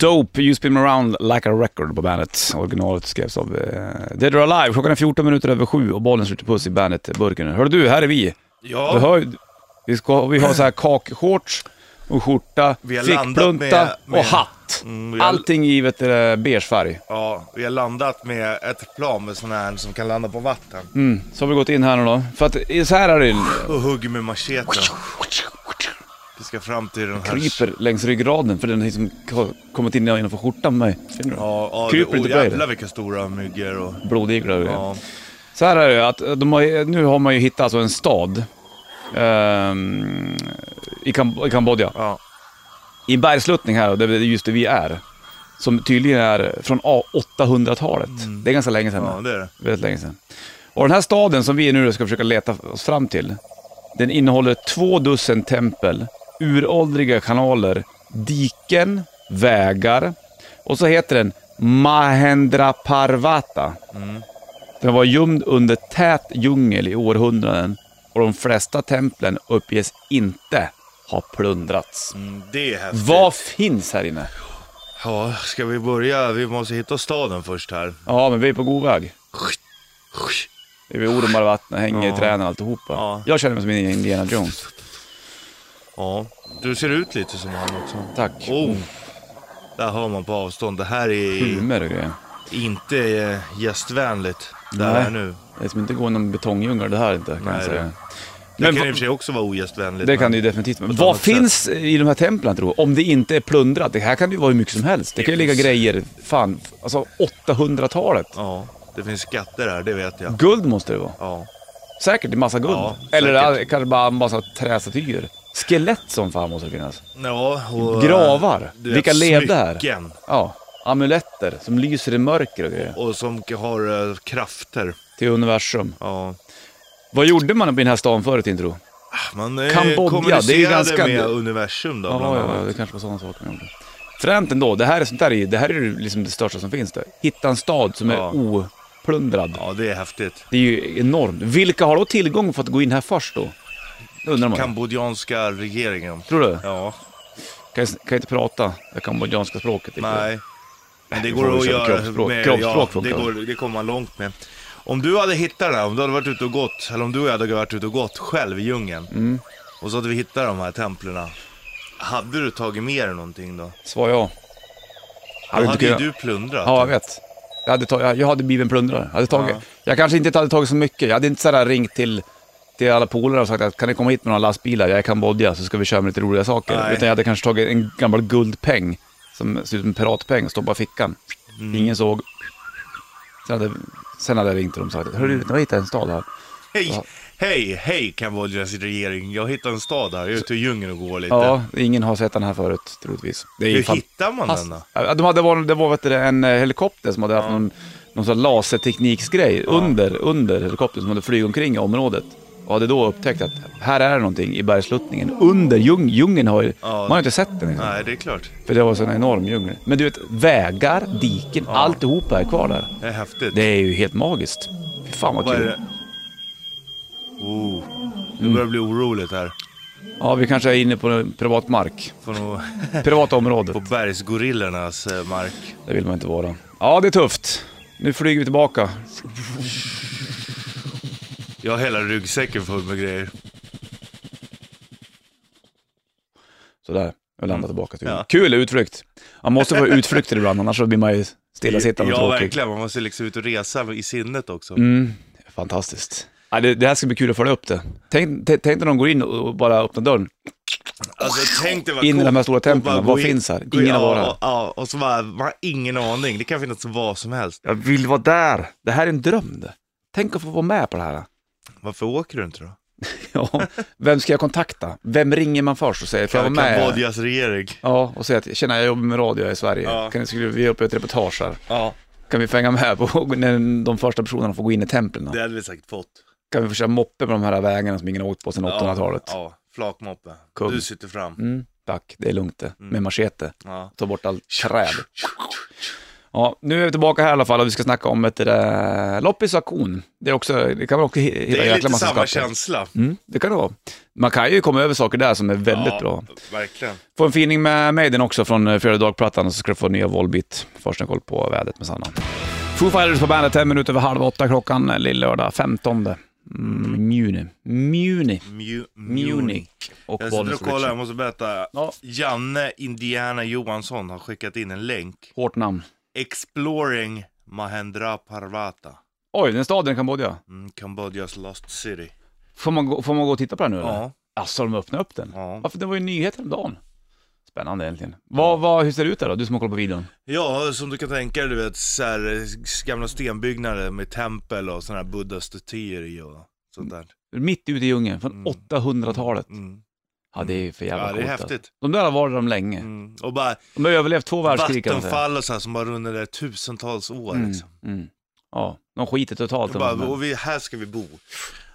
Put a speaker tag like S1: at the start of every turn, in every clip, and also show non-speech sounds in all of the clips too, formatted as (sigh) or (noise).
S1: Dope, You Spin Me Around Like A Record på bandet. Originalet skrevs av eh, Dead or Alive. Klockan är 14 minuter över sju och bollen skjuter puss i bandet-burken. Hör du, här är vi. Du
S2: Ja,
S1: hör, ju- vi, ska, vi har så här kakshorts och skjorta,
S2: Vi har
S1: fickplunta
S2: landat med- med-
S1: och hatt.
S2: Mm, vi har-
S1: Allting givet eh, beige färg.
S2: ja, vi har landat med ett plan med sån här som kan landa på vatten.
S1: Mm. Så har vi gått in här nu då. För att eh, så här är det.
S2: Och hugger med macheten. Vi ska fram till den här...
S1: Kryper längs ryggraden för den har liksom ko- kommit in innanför skjortan med mig. Ser du?
S2: Ja, ja
S1: Kryper
S2: det,
S1: inte
S2: oh,
S1: på dig,
S2: jävlar vilka stora myggor och...
S1: Blodiglar och grejer.
S2: Ja.
S1: Så här är det ju, att eh, de har, nu har man ju hittat alltså en stad ehm, i, Kam- i Kambodja.
S2: Ja.
S1: I en bergsluttning här, och det är just det vi är. Som tydligen är från A- 800-talet. Det är ganska länge sedan.
S2: ja, det är det.
S1: Väldigt länge sedan. Och den här staden som vi nu ska försöka leta oss fram till, den innehåller två dussin tempel, uråldriga kanaler, diken, vägar och så heter den Mahendra Parvata. Den var gömd under tät djungel i århundraden och de flesta templen uppges inte ha plundrats.
S2: Mm, det är häftigt.
S1: Vad finns här inne?
S2: Ja, ska vi börja? Vi måste hitta staden först här.
S1: Ja, men vi är på god väg. Det är vid ormar och vatten, hänger i
S2: Ja.
S1: träden och alltihopa.
S2: Ja.
S1: Jag känner mig som en Indiana Jones.
S2: Ja, du ser ut lite som han också.
S1: Tack. Mm.
S2: Oh. Där hör man på avstånd. Det här är
S1: Hummer och grejer.
S2: inte eh, gästvänligt. Det
S1: Nej.
S2: här är nu.
S1: Det är som inte gå någon betongdjungel det här inte, kan
S2: Nej,
S1: jag
S2: det-
S1: säga.
S2: Det
S1: Men
S2: kan i och
S1: va-
S2: för sig också vara ogästvänligt.
S1: det kan
S2: men-
S1: det ju definitivt vara.
S2: ett
S1: Vad
S2: annat sätt.
S1: finns i de här templen tror du? Om det inte är plundrat. Det här kan det ju vara hur mycket som helst. Det kan ju ligga grejer, fan, alltså 800-talet.
S2: Ja, det finns skatter här, det vet jag.
S1: Guld måste det vara.
S2: Ja.
S1: Säkert en massa guld.
S2: Ja,
S1: Eller eh,
S2: säkert.
S1: kanske bara en massa trästatyer. Skelett som fan måste det finnas.
S2: ja och, eh,
S1: Gravar.
S2: du vet,
S1: Vilka levde här?
S2: smycken.
S1: Ja. Amuletter som lyser i mörker och grejer.
S2: Och som k- har eh, krafter.
S1: Till universum.
S2: Ja.
S1: Vad gjorde man uppe i den här stan förut inte tro?
S2: Man eh,
S1: Kambodja,
S2: kommunicerade
S1: det är ju ganska-
S2: med universum då, bland
S1: Ja, ja, ja,
S2: annat.
S1: det kanske var sådana saker man gjorde. Fränt ändå. Det här är, sånt där, är- det här är ju liksom det största som finns. Där. Hitta en stad som
S2: Ja.
S1: är oplundrad.
S2: Ja, det är häftigt.
S1: Det är ju enormt. Vilka har då tillgång för att gå in här först då? Det undrar man.
S2: Kambodjanska regeringen.
S1: Tror du?
S2: Ja,
S1: Kan, jag, kan jag inte prata det kambodjanska språket. riktigt.
S2: nej. Men det
S1: vi får
S2: går att
S1: väl köra
S2: göra
S1: kroppsspråk. Kroppsspråk
S2: ja, det,
S1: funkar.
S2: går, det kommer man långt med. Om du hade hittat det här, om du hade varit ute och gått, eller om du och jag hade varit ute och gått själv i djungeln.
S1: Mm.
S2: Och så hade vi hittat de här templerna. Hade du tagit med dig någonting då?
S1: Svar ja.
S2: Då
S1: inte
S2: hade ju
S1: kunnat-
S2: du plundrat.
S1: Ja, jag vet. Jag hade, tag- jag- jag hade blivit en plundrare. Jag, hade tagit,
S2: Ja.
S1: jag kanske inte hade tagit så mycket. Jag hade inte sådär ringt till, till alla polare och sagt att kan ni komma hit med några lastbilar? Jag är i Kambodja så ska vi köra med lite roliga saker.
S2: Nej.
S1: Utan jag hade kanske tagit en gammal guldpeng som ser ut som en piratpeng och stoppat i fickan.
S2: Mm.
S1: Ingen såg. Sen hade, sen hade jag ringt till dem och sagt hörru du, jag hittade en stad här.
S2: Hej, hej, hej Kambodjas regering. Jag hittade en stad här. Jag är ute i djungeln och går lite.
S1: Ja, ingen har sett den här förut troligtvis. Det är ju
S2: Hur
S1: fan-
S2: hittar man
S1: Fast-
S2: den då?
S1: Ja, de hade, var- det var vet du, en eh, helikopter som hade haft någon, någon sån här lasertekniksgrej under, under helikoptern som hade flugit omkring i området. Och hade då upptäckt att här är det någonting i bergsluttningen. Under djung, djungeln har ju, man har ju inte sett den. Liksom,
S2: Nej, det är klart.
S1: för det var så en enorm djungel. Men du vet, vägar, diken, alltihopa är kvar där.
S2: Det är häftigt.
S1: Det är ju helt magiskt. Fy fan vad
S2: Vad är
S1: kul.
S2: det? Oh, nu börjar det bli oroligt här.
S1: Ja, vi kanske är inne på privat mark.
S2: På, no...
S1: Privat område. (laughs)
S2: på bergsgorillernas eh, mark.
S1: Det vill man inte vara. Ja, det är tufft. Nu flyger vi tillbaka.
S2: Jag har hela ryggsäcken full med grejer.
S1: Sådär, jag landar tillbaka till
S2: Mm. Ja.
S1: Kul utflykt. Man måste
S2: (laughs)
S1: få utflykter ibland, annars så blir man ju stillasittande och
S2: Ja,
S1: tråkig.
S2: verkligen. Man måste liksom ut och resa i sinnet också.
S1: Mm, fantastiskt. Ja, det, det här ska bli kul att följa upp det. Tänk, tänk tänk när de går in och och bara öppnar dörren.
S2: Alltså, tänk dig vad
S1: In i de här stora
S2: coolt att bara
S1: templen.
S2: gå
S1: Vad
S2: in-
S1: finns här?
S2: gå in-
S1: Ingen har
S2: ja,
S1: varit här.
S2: och- Ja, och så bara, man har ingen aning. Det kan finnas vad som helst.
S1: Jag vill vara där. Det här är en dröm det. Tänk att få vara med på det
S2: (laughs)
S1: här.
S2: Varför åker du inte då?
S1: Ja, (laughs) vem ska jag kontakta? Vem ringer man först och säger, får jag vara med?
S2: Kambodjas regering.
S1: Ja, och säga att, tjena jag jobbar med radio här i Sverige.
S2: Ja.
S1: Kan ni, skulle vi göra upp ett reportage här?
S2: Ja.
S1: Kan vi fänga med på (laughs) när de första personerna får gå in i templen?
S2: Det hade vi säkert fått.
S1: kan vi få köra moppe på de här vägarna som ingen har åkt på sedan 800-talet.
S2: Ja, ja. flakmoppe.
S1: Kung.
S2: Du sitter fram. Mm.
S1: Mm, tack, det är lugnt det. Med machete.
S2: Ja.
S1: Ta bort allt träd. Ja, nu är vi tillbaka här i alla fall och vi ska snacka om ett äh, loppis och auktion. Det, är också, det kan man också hi- hitta
S2: Det är
S1: jäkla
S2: lite
S1: massa
S2: samma
S1: skatter.
S2: känsla.
S1: Mm, det kan det vara. Man kan ju komma över saker där som är väldigt
S2: ja,
S1: bra.
S2: Verkligen.
S1: Få en feeling med Maiden också från eh, Fredag Dag-plattan och så ska du få nya Volbeat. Först en koll på vädret med Sanna. Foo Fighters på bandet, fem minuter över halv åtta klockan, eh, lillördag 15 mm, juni. Muni.
S2: Mu-
S1: Munich. Och
S2: Jag sitter
S1: Bollnäs
S2: och kollar, jag
S1: Ritchie.
S2: måste berätta.
S1: Ja.
S2: Janne Indiana Johansson har skickat in en länk.
S1: Hårt namn.
S2: Exploring Mahendra Parvata.
S1: Oj, den staden i Kambodja.
S2: Mm, Kambodjas lost city.
S1: Får man, gå, får man gå och titta på den nu eller?
S2: Ja.
S1: Alltså de öppnade upp den?
S2: Ja.
S1: Varför, det var ju nyheter om dagen. Spännande egentligen. Vad, vad, hur ser det ut där då, du som har kollat på videon?
S2: Ja, som du kan tänka dig, du vet, så här, eh, gamla stenbyggnader med tempel och sådana här buddha-statyer i och sånt där.
S1: Mitt ute i djungeln, från
S2: Mm.
S1: 800-talet.
S2: Mm.
S1: Ja, det är ju för jävla
S2: Ja, det är
S1: coolt, alltså.
S2: häftigt.
S1: De där har varit de länge.
S2: Mm. Och bara
S1: De har överlevt två världskrig kan man säga.
S2: vattenfall och så här som bara runnit där tusentals år
S1: Mm,
S2: liksom.
S1: mm. Ja, de skiter totalt de
S2: Och, bara,
S1: här.
S2: och vi, här ska vi bo.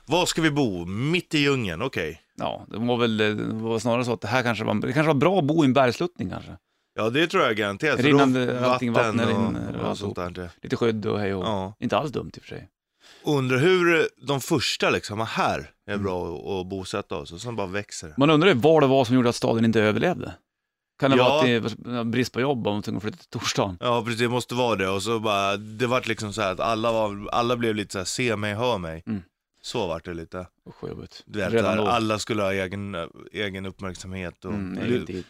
S2: Var ska vi bo? Mitt i djungeln, okej.
S1: Ja, det var väl eh, det var snarare så att det här kanske var, det kanske var bra att bo i en bergsluttning kanske.
S2: Ja, det tror jag garanterat. För
S1: Rinnande-
S2: då-
S1: allting, vatten rinner
S2: och,
S1: och
S2: och sånt där.
S1: Lite skydd och hej och
S2: Ja.
S1: Inte alls dumt i och för sig.
S2: Undrar hur de första liksom, här är bra att- att bosätta oss och sen bara växer det.
S1: Man undrar ju vad det var som gjorde att staden inte överlevde. Kan det
S2: Ja.
S1: vara att det var brist på jobb och man tvungen att flytta till torsdagen?
S2: Ja precis, det måste vara det. Och så bara, det vart liksom så här att alla, var, alla blev lite så här, se mig, hör mig.
S1: Mm.
S2: Så vart det lite.
S1: Usch, vad jobbigt.
S2: Du vet,
S1: Redan
S2: där,
S1: då.
S2: alla skulle ha egen, eh, egen uppmärksamhet. Och,
S1: Mm,
S2: Lu-
S1: egen tid.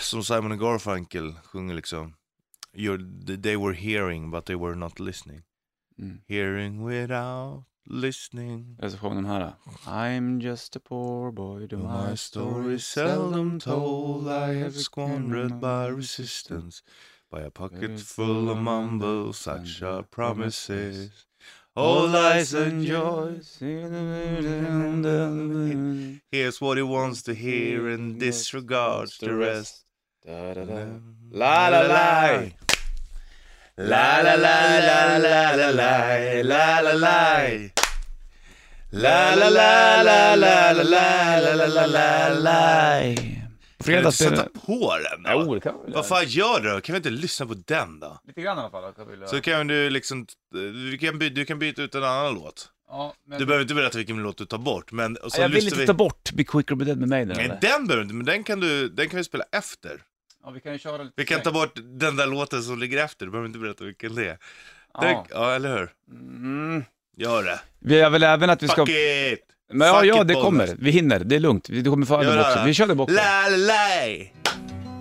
S2: som Simon och Garfunkel sjunger liksom. You're, they were hearing but they were not listening.
S1: Mm.
S2: Hearing without listening.
S1: Eller så sjöng de här. I'm just a poor boy, do
S2: My story seldom told I have squandered by resistance. By a pocket full of mumble, such are promises. All lies and joys. Here's what he wants to hear and disregards the rest. La la la. La la la la la la la la la la. La la la la la la la la la la la.
S1: På
S2: Kan du
S1: fredag
S2: inte
S1: spelar...
S2: sätta på den? då?
S1: Jo, oh, det kan vi
S2: Vad fan gör du? Kan vi inte lyssna på den då?
S1: Lite grann i alla fall. Kan vi
S2: Så kan du liksom, du kan, by- du kan byta ut en annan låt.
S1: ja, men...
S2: Du behöver inte berätta vilken låt du tar bort, men... Och så
S1: jag vill
S2: lyssnar
S1: inte
S2: vi-
S1: ta bort Be Quicker Be Dead med mig.
S2: Nej,
S1: eller?
S2: den behöver du inte, men den kan, du, den kan vi spela efter.
S1: Ja, vi kan ju köra lite
S2: Vi kan ta
S1: släng.
S2: bort den där låten som ligger efter, du behöver inte berätta vilken det är. Den,
S1: Ja.
S2: ja, eller hur?
S1: Mm.
S2: Gör det.
S1: Vi har väl även att vi ska...
S2: Fuck it!
S1: Men ja,
S2: Fuck
S1: ja,
S2: it,
S1: det
S2: Bollnäs.
S1: kommer. Vi hinner. Det är lugnt. Vi- Det kommer före
S2: Gör
S1: den
S2: det
S1: boxen.
S2: här.
S1: Vi kör den boxen.
S2: La la la!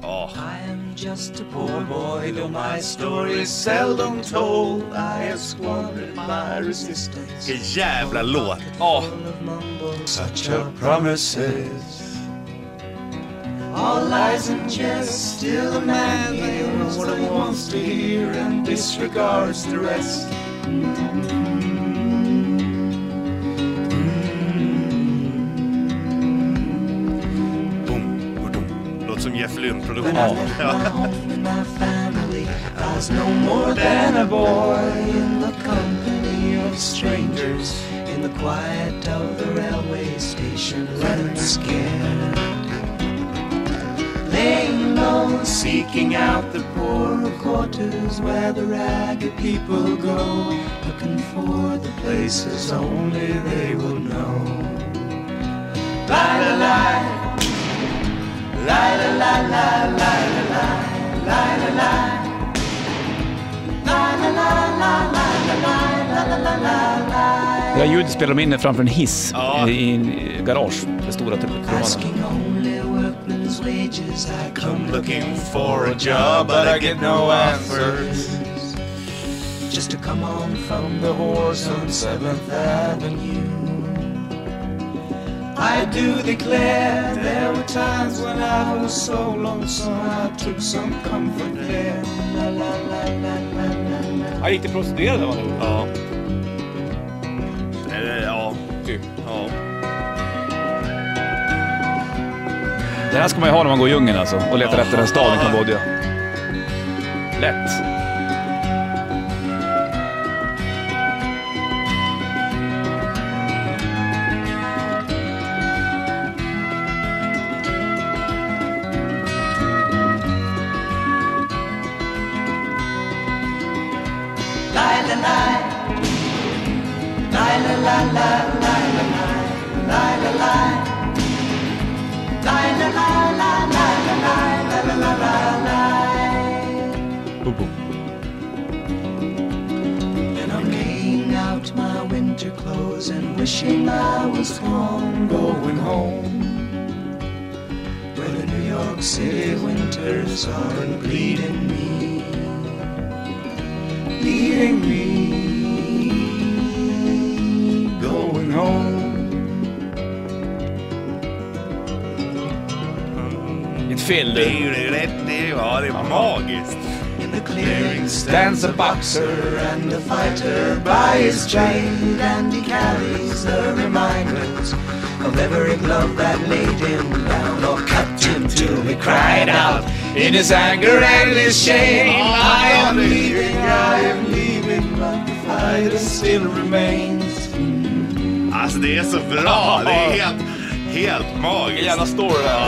S2: Ja,
S3: I am just a poor boy, though my story is seldom told. I have squandered my resistance.
S2: vilken jävla låt!
S1: Ja,
S3: Such a promises. All lies and jest, still a man hears what he wants to hear and disregards the rest.
S2: Boom, boom. Låter som Jeff Lynne-produktion.
S3: When I
S2: (laughs)
S3: left my home and my family, I was no more than a boy in the company of strangers, in the quiet of the railway station, running scared. Laying low, seeking out the poorer quarters where the ragged people go, looking for the places only they will know. Lie, lie, lie, lie, lie, lie, lie, lie, lie, lie, lie.
S1: det här ljudet spelar de in här framför en hiss
S2: Ja.
S1: i, i en garage. Det stora typ kronan.
S3: Asking only workmen's wages, I come
S2: I'm
S3: looking
S2: looking for a job but I get no answers.
S3: just to come on from the horse on Seventh Avenue. I do declare there were times when I was so lonesome I took some comfort there. La, la, la, la, la, la, la.
S1: Ja, gick det prostituerade var det?
S2: Ja. Eller ja,
S1: Typ.
S2: ja.
S1: Det här ska man ju ha när man går i djungeln alltså och letar
S2: Ja.
S1: efter en stad i Kambodja. Lätt. Boom, boom.
S3: And I'm laying out my winter clothes and wishing I was home, going home. Where the New York City winters aren't bleeding me, leading me, going home.
S1: Ett fel
S2: Det
S1: du.
S2: är ju rätt, det är, ja, det är magiskt.
S3: In the clearing stands a boxer and a fighter by his chain, and he carries the reminders of every glove that laid him down or cut him till he cried out in his anger and his shame. I am leaving, I am leaving, but the fighter still remains.
S2: Alltså det är så bra, det är helt, helt magiskt.
S1: Jävla story där.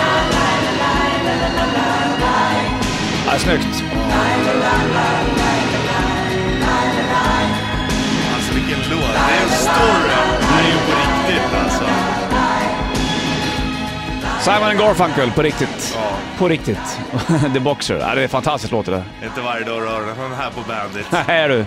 S1: Ja, snyggt.
S2: Alltså vilken låt, det är en story. Det är ju på riktigt alltså.
S1: Simon and Garfunkel, på riktigt. På riktigt. (laughs) The Boxer. Ja, det är fantastiskt låt det (laughs) där.
S2: Inte varje dag du hör den men här på
S1: (laughs)
S2: Bandit.
S1: Nej du.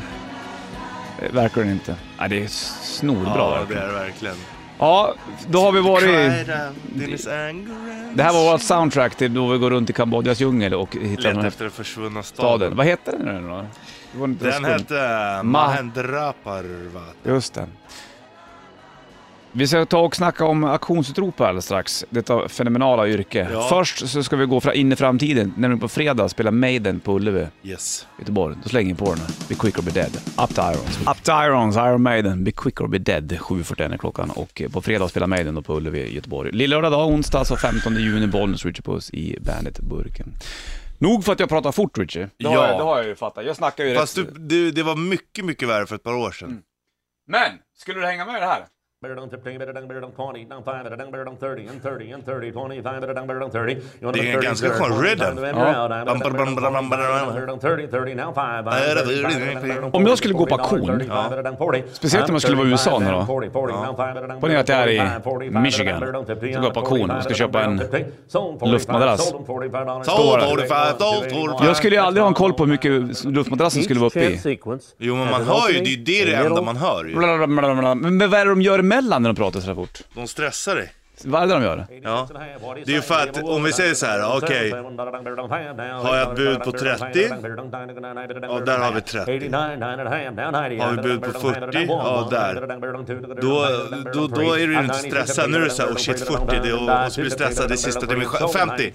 S1: Det Verkar den inte. Ja, det är snorbra
S2: Ja, det
S1: verkligen.
S2: är det verkligen.
S1: Ja, då har vi varit...
S2: Cried out in his anger and
S1: Det här var vårt soundtrack till då vi går runt i Kambodjas djungel och hittar den
S2: Leta
S1: här
S2: efter den försvunna
S1: staden.
S2: staden.
S1: Vad hette den nu då? Det var inte
S2: Den
S1: skumt.
S2: hette Mahendraparvat.
S1: Just det. Vi ska ta och snacka om auktionsutrop här alldeles strax, detta fenomenala yrke.
S2: Ja.
S1: Först så ska vi gå fra- in i framtiden, nämligen på fredag spelar Maiden på Ullevi,
S2: Yes.
S1: Göteborg. Då slänger vi på den här. Be quick or be dead. Up to Irons. Up to Irons, Iron Maiden. Be quick or be dead. 7.41 är klockan och eh, på fredag spelar Maiden då på Ullevi, i Göteborg. Lillördag dag, onsdag, alltså 15 juni, Bollnäs, Richie Puss i Bandit-burken. Nog för att jag pratar fort Richie. Det har,
S2: Ja.
S1: jag, det har jag ju fattat. Jag snackar ju
S2: Fast du,
S1: rätt.
S2: du, det var mycket, mycket värre för ett par år sedan.
S1: Men, skulle du hänga med i det här?
S4: better than 15, better than better than 20, down 5, better than better than 30, and 30, and 30, 25, better than better than 30. You
S2: Det är en ganska skön rhythm.
S1: Om jag skulle gå på auktion, speciellt om jag skulle vara i USA nu då. Ponera att jag är i Michigan. Så går jag på auktion och ska köpa en luftmadrass.
S4: Står här.
S1: Jag skulle ju aldrig ha en koll på hur mycket luftmadrassen skulle vara uppe i.
S2: Jo men man hör ju, det är ju det, är det enda man hör ju.
S1: Bla, bla, bla, bla. Men vad är det de gör emellan när de pratar så här fort?
S2: De stressar dig.
S1: Vad är det de gör?
S2: Ja. Det är ju för att om vi säger så här, okej.
S4: Har
S2: jag ett bud på 30? Ja, där har vi 30.
S4: Har
S2: Har vi bud på 40? Ja, där. Då, då, då är du inte stressad. Nu är du såhär, oh shit 40, det, och, och så blir du stressad det sista till mig själv. 50!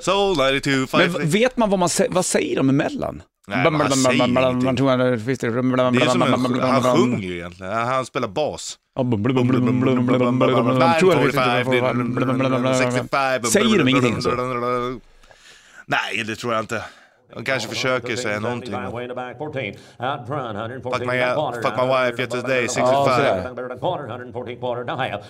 S2: Soul 92,
S1: Men
S2: 5
S1: v- vet man vad man sä- vad säger de emellan?
S2: Nej, man säger ingenting. Det är som en, han sjunger ju egentligen. Han han spelar bas.
S1: Säger de ingenting så?
S2: så? Nej, det tror jag inte. De kanske försöker säga någonting.
S4: Fuck
S2: Fuck my, uh, fuck my wife yesterday,
S1: Ja,
S2: 65.
S1: sådär.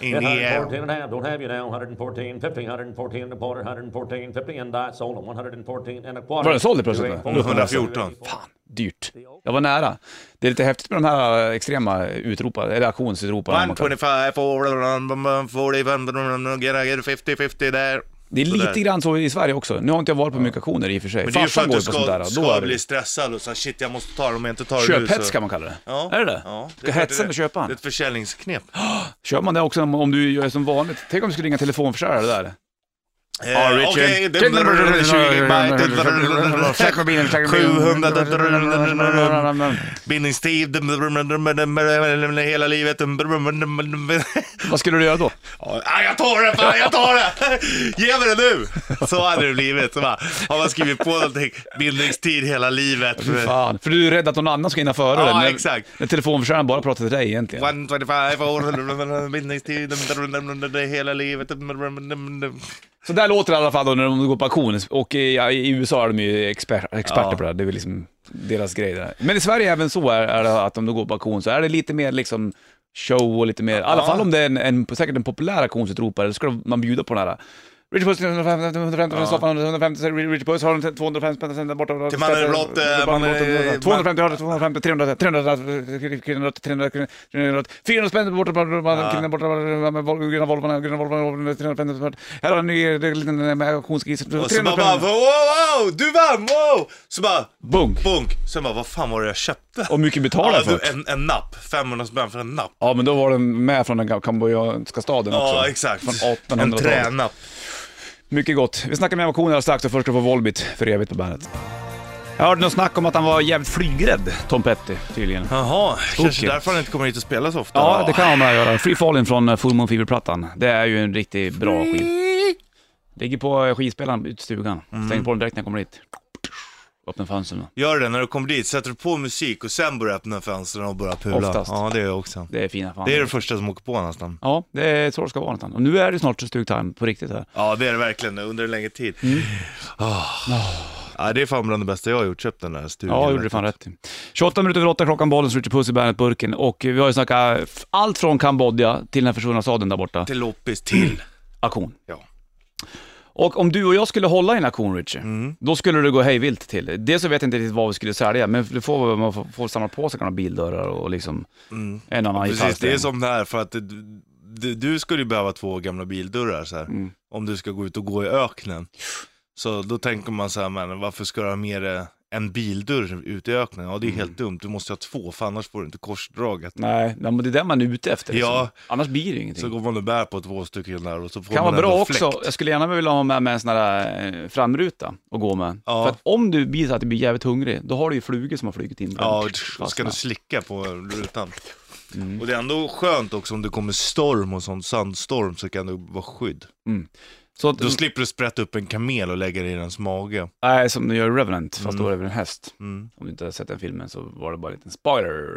S4: In
S2: In the air.
S4: Don't have you now. 114, 50, 114 and a quarter, 114, 50 and I sold them. 114 and a quarter.
S1: Var den såld i plötsligt?
S4: You ain't
S1: Eller?
S4: fool.
S2: 114.
S1: Fan, dyrt. Jag var nära. Det är lite häftigt med de här eh, extrema utroparna, eller auktionsutroparna. man kan-
S2: 125, 45, get I get 50, 50 där.
S1: Det är
S2: Sådär.
S1: lite grann så i Sverige också. Nu har inte jag varit på mycket auktioner i och för sig.
S2: Men det är ju för
S1: Farsan
S2: att
S1: går
S2: du
S1: ju på sånt där.
S2: ska,
S1: och Då
S2: ska
S1: är det
S2: bli stressad och så här, shit jag måste ta dem, om jag inte tar dem nu
S1: Köphets
S2: så-
S1: kan man kalla det.
S2: Ja.
S1: Är det det?
S2: Ja, det
S1: Ska
S2: är klart
S1: hetsa
S2: det.
S1: med köparen.
S2: Det är ett försäljningsknep.
S1: Kör man det också om, om du gör som vanligt? Tänk om du skulle ringa telefonförsäljare där.
S2: Eh,
S1: Richard.
S2: Okej, det är 20 byte.
S1: Säkra bilen, säkra bilen.
S2: 700 bindningstid. Hela livet.
S1: Vad skulle du göra
S2: (laughs)
S1: då?
S2: Ja, jag tar det, fan, jag tar det! Ge mig det nu! Så hade det blivit. Så bara, har man skrivit på någonting, bindningstid hela livet.
S1: Fan, för du är rädd att någon annan ska hinna före
S2: Ja,
S1: dig. när-
S2: exakt.
S1: När telefonförsäljaren bara pratar till dig egentligen.
S2: 125 år, bindningstid, hela livet.
S1: Så där låter det i alla fall då när de går på auktion. Och i, ja, i USA är de ju exper, experter på det här. Det är väl liksom deras grej det där. Men i Sverige även så är, är det att om du går på auktion så är det lite mer liksom show och lite mer, i alla fall om det är en, en, säkert en populär auktionsutropare, då ska man bjuda på den här. Richard Puss 150, 150, Staffan 150, Richard Puss har den 250, sen där borta.
S2: Till man är blott, eh, man är-
S1: 250, 250, 300, 300, 300, 300, 300, 400 spänn borta, borta, borta, killen borta, borta, med vol- gröna Volvo, gröna Volvo, 350 spänn. Här har ni er liten eh, auktionsgris.
S2: Och så bara,
S1: 300
S2: bara
S1: spänn.
S2: wow, wow, du vann, wow! Så bara,
S1: Bunk!
S2: bunk. Sen bara, vad fan var det jag köpte?
S1: Och mycket betalar
S2: Ja,
S1: jag för.
S2: du, en, en napp, 500 spänn för en napp.
S1: Ja, men då var den med från den gam- kambodjanska staden också.
S2: Ja, exakt.
S1: Från
S2: en
S1: 1800-talet.
S2: tränapp.
S1: Mycket gott. Vi snackar mer om auktioner alldeles strax och först ska du få Volbit för evigt på bandet. Jag hörde något snack om att han var jävligt flygrädd, Tom Petty, tydligen.
S2: Jaha, kanske
S1: Tokigt.
S2: därför han inte kommer hit och spelar så ofta.
S1: Ja, det kan ha med att göra. Free Falling från eh, Full Moon Fever-plattan. Det är ju en riktigt bra skiv. Ligger på eh, skivspelaren ute i stugan.
S2: Mm.
S1: Stänger på den direkt när jag kommer dit. Öppnar fönstren.
S2: Gör det när du kommer dit, sätter du på musik och sen börjar öppna fönstren och börjar pula.
S1: Oftast.
S2: Ja, det är jag också.
S1: Det är fina fan.
S2: Det är det första som åker på nästan.
S1: Ja, det är så det ska vara någonstans. Och nu är det snart Stugtime på riktigt här.
S2: Ja, det är det verkligen under en längre tid.
S1: Mm.
S2: Ah. Ja, det är fan bland det bästa jag har gjort, köpt den där stugan.
S1: Ja, gjorde du
S2: verkligen.
S1: fan rätt i. 28 minuter över 8 klockan, bollen Richard Puss i Bandet-burken. Och vi har ju snackat f- allt från Kambodja till den här försvunna staden där borta.
S2: Till loppis, till.
S1: Auktion.
S2: Ja.
S1: Och om du och jag skulle hålla i en auktion, Richie,
S2: Mm.
S1: då skulle det gå hejvilt till. Dels så vet jag inte riktigt vad vi skulle sälja, men det får, man får, får samla på sig några bildörrar och liksom en annan
S2: Mm. Precis, det är
S1: gitarrsten.
S2: som det här för att du, du, du skulle ju behöva två gamla bildörrar så här.
S1: Mm.
S2: Om du ska gå ut och gå i öknen. Så då tänker man så här, men varför ska du ha med dig en bildörr ut i öknen? Ja, det är
S1: Mm.
S2: helt dumt. Du måste ha två, för annars får du inte korsdraget.
S1: Nej, nej, men det är det man är ute efter. Liksom.
S2: Ja.
S1: Annars blir det ju ingenting.
S2: Så går man och bär på två stycken där och så får
S1: Mm. kan
S2: man
S1: vara bra
S2: ändå
S1: också.
S2: fläkt.
S1: Jag skulle gärna vilja ha med mig en sån där eh, framruta och gå med.
S2: Ja.
S1: För att om du blir så att du blir jävligt hungrig, då har du ju flugor som har flugit in.
S2: Ja, då ska
S1: Fastnat.
S2: du slicka på rutan.
S1: Mm.
S2: Och det är ändå skönt också om det kommer storm och sånt, sandstorm, så kan du vara skydd.
S1: Så att,
S2: Då slipper du sprätta upp en kamel och lägga det i dens mage.
S1: nej, som du gör i Revenant, fast
S2: Mm.
S1: då är det väl en häst. Om du inte har sett den filmen så var det bara en liten spoiler.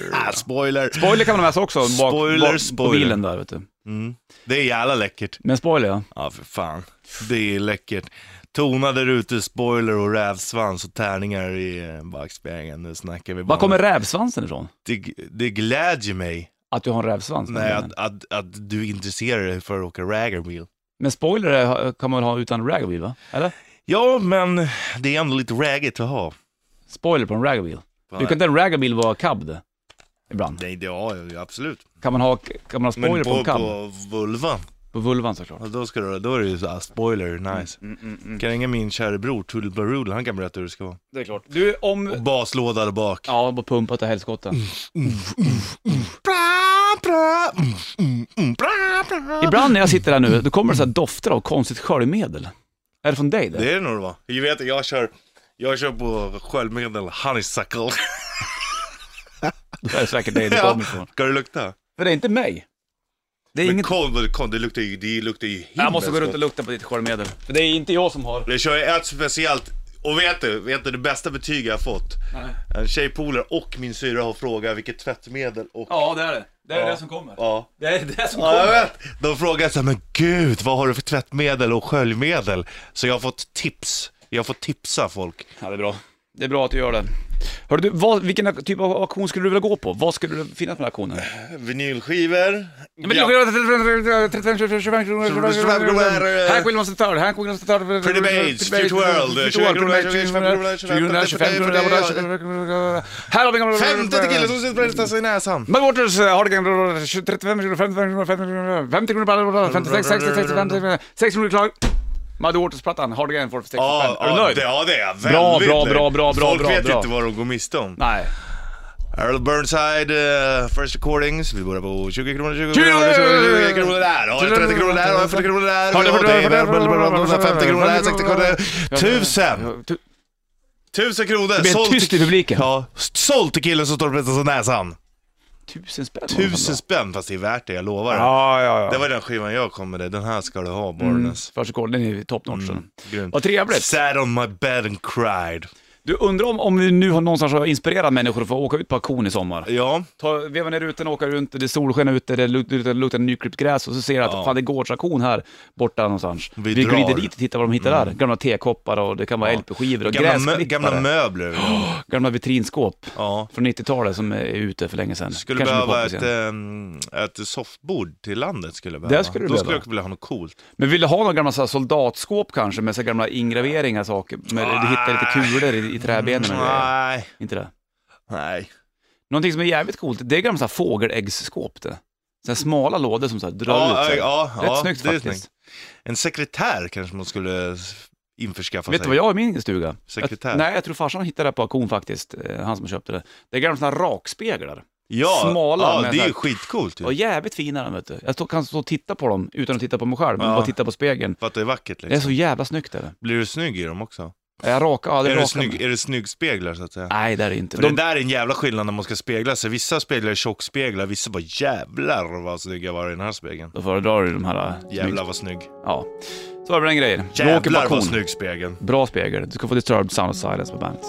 S2: (laughs) Ah, spoiler!
S1: Mm. Spoiler kan man ha med sig också, bak,
S2: Spoiler,
S1: bak, på
S2: spoiler.
S1: bilen där vet du.
S2: Mm. Det är jävla läckert.
S1: Men spoiler ja.
S2: Ja, för fan. Det är läckert. Tonade rutor, spoiler och rävsvans och tärningar i eh, backspegeln. Nu snackar vi bara.
S1: Var kommer rävsvansen ifrån?
S2: det, det glädjer mig
S1: Att du har en rävsvans?
S2: nej,
S1: men,
S2: att, att, att du intresserar dig för att åka raggarwheel.
S1: men spoiler är- kan man väl ha utan ragwheel va? Eller?
S2: Ja, men det är ändå lite raggigt att ha.
S1: Spoiler på en ragwheel. Du
S2: Nej.
S1: kan inte en ragwheel vara cab Ibland.
S2: Nej, det ja, ja, absolut.
S1: Kan man ha, kan man ha spoiler
S2: Men
S1: på, en
S2: på,
S1: cab?
S2: på vulvan,
S1: På vulvan såklart.
S2: ja, då, ska du, då är det ju såhär, spoiler,
S1: Mm,
S2: nice. Kan ringa min kära bror Toodlebaroo, han kan berätta hur det ska vara.
S1: Det är klart. Du,
S2: Och
S1: om...
S2: baslåda där bak.
S1: Mm.
S2: Mm,
S1: Ja, bara pumpat och helskotta.
S2: Bra, bra, mm, mm, mm, bra, bra.
S1: Ibland när jag sitter här nu, då kommer det så här dofter av konstigt sköljmedel. Är det från dig det?
S2: Det är det nog det var. Jag vet, jag kör, jag kör på sköljmedel, honeysuckle.
S1: Det är säkert dig det
S2: (laughs) Ja.
S1: kommer ifrån.
S2: Ska det lukta?
S1: För det är inte mig. Det är
S2: Men
S1: inget...
S2: kom, kom, det luktar ju, det luktar ju himmelskt.
S1: Jag måste gå runt och lukta på ditt sköljmedel. För det är inte jag som har.
S2: Jag kör ju ett speciellt, och vet du, vet du det bästa betyg jag har fått? En tjejpolare och min syra har frågat vilket tvättmedel och...
S1: Ja, det är det. Det är
S2: Ja.
S1: det som kommer.
S2: ja.
S1: Det är det som
S2: Ja, jag
S1: kommer.
S2: vet. De frågar så här, men gud, vad har du för tvättmedel och sköljmedel? Så jag har fått tips. Jag har fått tipsa folk.
S1: Ja, det är bra. Det är bra att du gör det. Hörru du, vad, vilken typ av auktion skulle du vilja gå på? Vad skulle det finnas för auktioner?
S2: Vinylskivor.
S1: Ja, men det är 35, 25 kronor. Hank Williams the third, Hank Williams the third.
S2: Pretty Maids, Cute World, 20 kronor, 25 kronor,
S1: 25 kronor. Här har vi gamla...
S2: 50 till killen som sitter och pressar sig i näsan.
S1: Mudwaters Waters har det gamla 35 kronor, 55 kronor, 50 kronor, 50 kronor, bara 56, 60, 65, 60 kronor klar. Muddy Waters-plattan, Hardgain får 60
S2: Ja,
S1: spänn. Är du
S2: ja,
S1: nöjd?
S2: det, ja, det är jag.
S1: Bra,
S2: Väldigt
S1: bra,
S2: nöjd.
S1: bra, bra, bra,
S2: Folk
S1: bra,
S2: vet
S1: bra.
S2: inte vad de går miste om.
S1: Nej.
S2: Earl Burnside, eh, First Recordings. Vi börjar på 20 kronor, 20 kronor, 20 kronor där, och 30 kronor där, och 40 kronor där, och 50 kronor där, 60 kronor där. Tusen!
S1: Ja, tu-
S2: Tusen kronor!
S1: Det blir
S2: Sålt
S1: tyst i
S2: till-
S1: publiken.
S2: Ja, sålt till killen som står och pressar sig näsan.
S1: Tusen spänn.
S2: Tusen spänn, fast det är värt det, jag lovar.
S1: Ja, ja, ja.
S2: Det var den skivan jag kom med dig, den här ska du ha Borgnäs.
S1: Varsågod, den är top notch. den.
S2: Mm, Grymt.
S1: Vad trevligt.
S2: Sat on my bed and cried.
S1: Du undrar om, om vi nu har någonstans har inspirerat människor för att åka ut på auktion i sommar?
S2: Ja,
S1: Ta, veva ner rutan och åka runt, det är solsken ute, det luktar, luktar, luktar nyklippt gräs och så ser du att
S2: Ja.
S1: fan, det är gårdsaktion här borta någonstans.
S2: Vi
S1: Vi,
S2: drar. Mm.
S1: glider dit och tittar vad de hittar där. Gamla tekoppar och det kan vara LP-skivor och
S2: gamla, mö-
S1: gräsklippare.
S2: gamla
S1: Gamla,
S2: möbler.
S1: vitrinskåp
S2: Ja.
S1: från 90-talet som är ute för länge sedan.
S2: Skulle
S1: Kanske blir
S2: behöva
S1: poppis
S2: ett,
S1: igen.
S2: ehm, ett soffbord till landet skulle jag behöva.
S1: Det skulle du
S2: Då
S1: behöva.
S2: skulle jag vilja ha något coolt.
S1: Men vill du ha några gamla så här, soldatskåp kanske med så här, gamla ingraveringar och saker? Med, Du hittar lite kulor i, i träbenen och grejer.
S2: Ah. Mm, Nej,
S1: Inte det?
S2: nej.
S1: Någonting som är jävligt coolt, det är gamla så här, fågeläggsskåp det. Så här, smala lådor som så här, drar
S2: Ja,
S1: ut sig.
S2: ja, ja,
S1: Rätt
S2: ja,
S1: snyggt
S2: det är
S1: faktiskt.
S2: snyggt. En sekretär kanske man skulle s- införskaffa
S1: Vet
S2: sig.
S1: du vad jag har i min stuga?
S2: Sekretär.
S1: Jag, nej, jag tror farsan hittade det på auktion faktiskt, eh, han som köpte det. Det är gamla sådana här rakspeglar.
S2: ja,
S1: Smala,
S2: Ja,
S1: men
S2: det är
S1: så
S2: ju
S1: här-
S2: skitcoolt ju.
S1: Och jävligt fina de vet du. Jag stå, kan stå och titta på dem utan att titta på mig själv, men
S2: Ja.
S1: bara titta på spegeln.
S2: För att det är vackert
S1: Det är
S2: liksom.
S1: så jävla snyggt är det.
S2: Blir du snygg i dem också?
S1: Är Jag rakar aldrig
S2: Är du,
S1: rakar
S2: snygg,
S1: mig.
S2: är du snygg speglar så att säga?
S1: Nej, det är det inte.
S2: För
S1: De,
S2: det där är en jävla skillnad när man ska spegla sig. Vissa speglar är tjockspeglar, vissa bara jävlar vad snygg jag var i den här spegeln.
S1: Då föredrar du de här... eh,
S2: Jävlar
S1: snyggt.
S2: vad snygg.
S1: Ja. Så var det den grejen. Vi åker på
S2: Jävlar vad
S1: auktion.
S2: snygg spegeln.
S1: Bra spegel. Du ska få Disturbed Sound of Silence på bandet.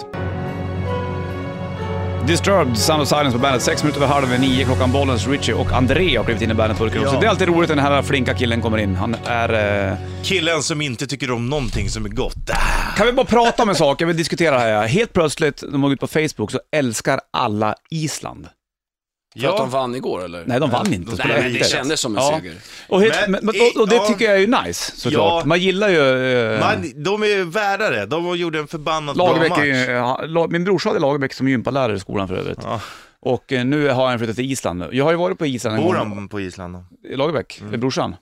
S1: Disturbed Sound of Silence på bandet. Sex minuter över halv nio klockan. Bollens Richie och André har klivit in i bandet burken
S2: Ja.
S1: också. Det är alltid roligt när den här flinka killen kommer in. Han är... Eh...
S2: Killen som inte tycker om någonting som är gott. Ah,
S1: Kan vi bara prata om en sak? Jag vill diskutera det här. Helt plötsligt, när man går ut på Facebook, så älskar alla Island.
S5: För att de vann igår eller?
S1: Nej, de vann inte.
S2: de
S1: Spelade
S5: Nej, men
S1: inte.
S5: det kändes som en
S1: Ja.
S5: seger.
S1: Och, helt,
S2: Men-
S1: men, och, och det
S2: ja.
S1: tycker jag är ju nice, såklart.
S2: Ja.
S1: Man gillar ju... Eh,
S2: Man, de är ju värda det. De gjorde en förbannat
S1: Lagerbäck
S2: bra
S1: är
S2: match.
S1: ju, ja, la- min brorsa hade Lagerbäck som gympalärare i skolan för övrigt.
S2: Ja.
S1: Och eh, nu har han flyttat till Island. nu. Jag har ju varit på Island en
S2: Bor
S1: gång.
S2: han på Island då? (laughs)
S1: Lagerbäck? Eller brorsan?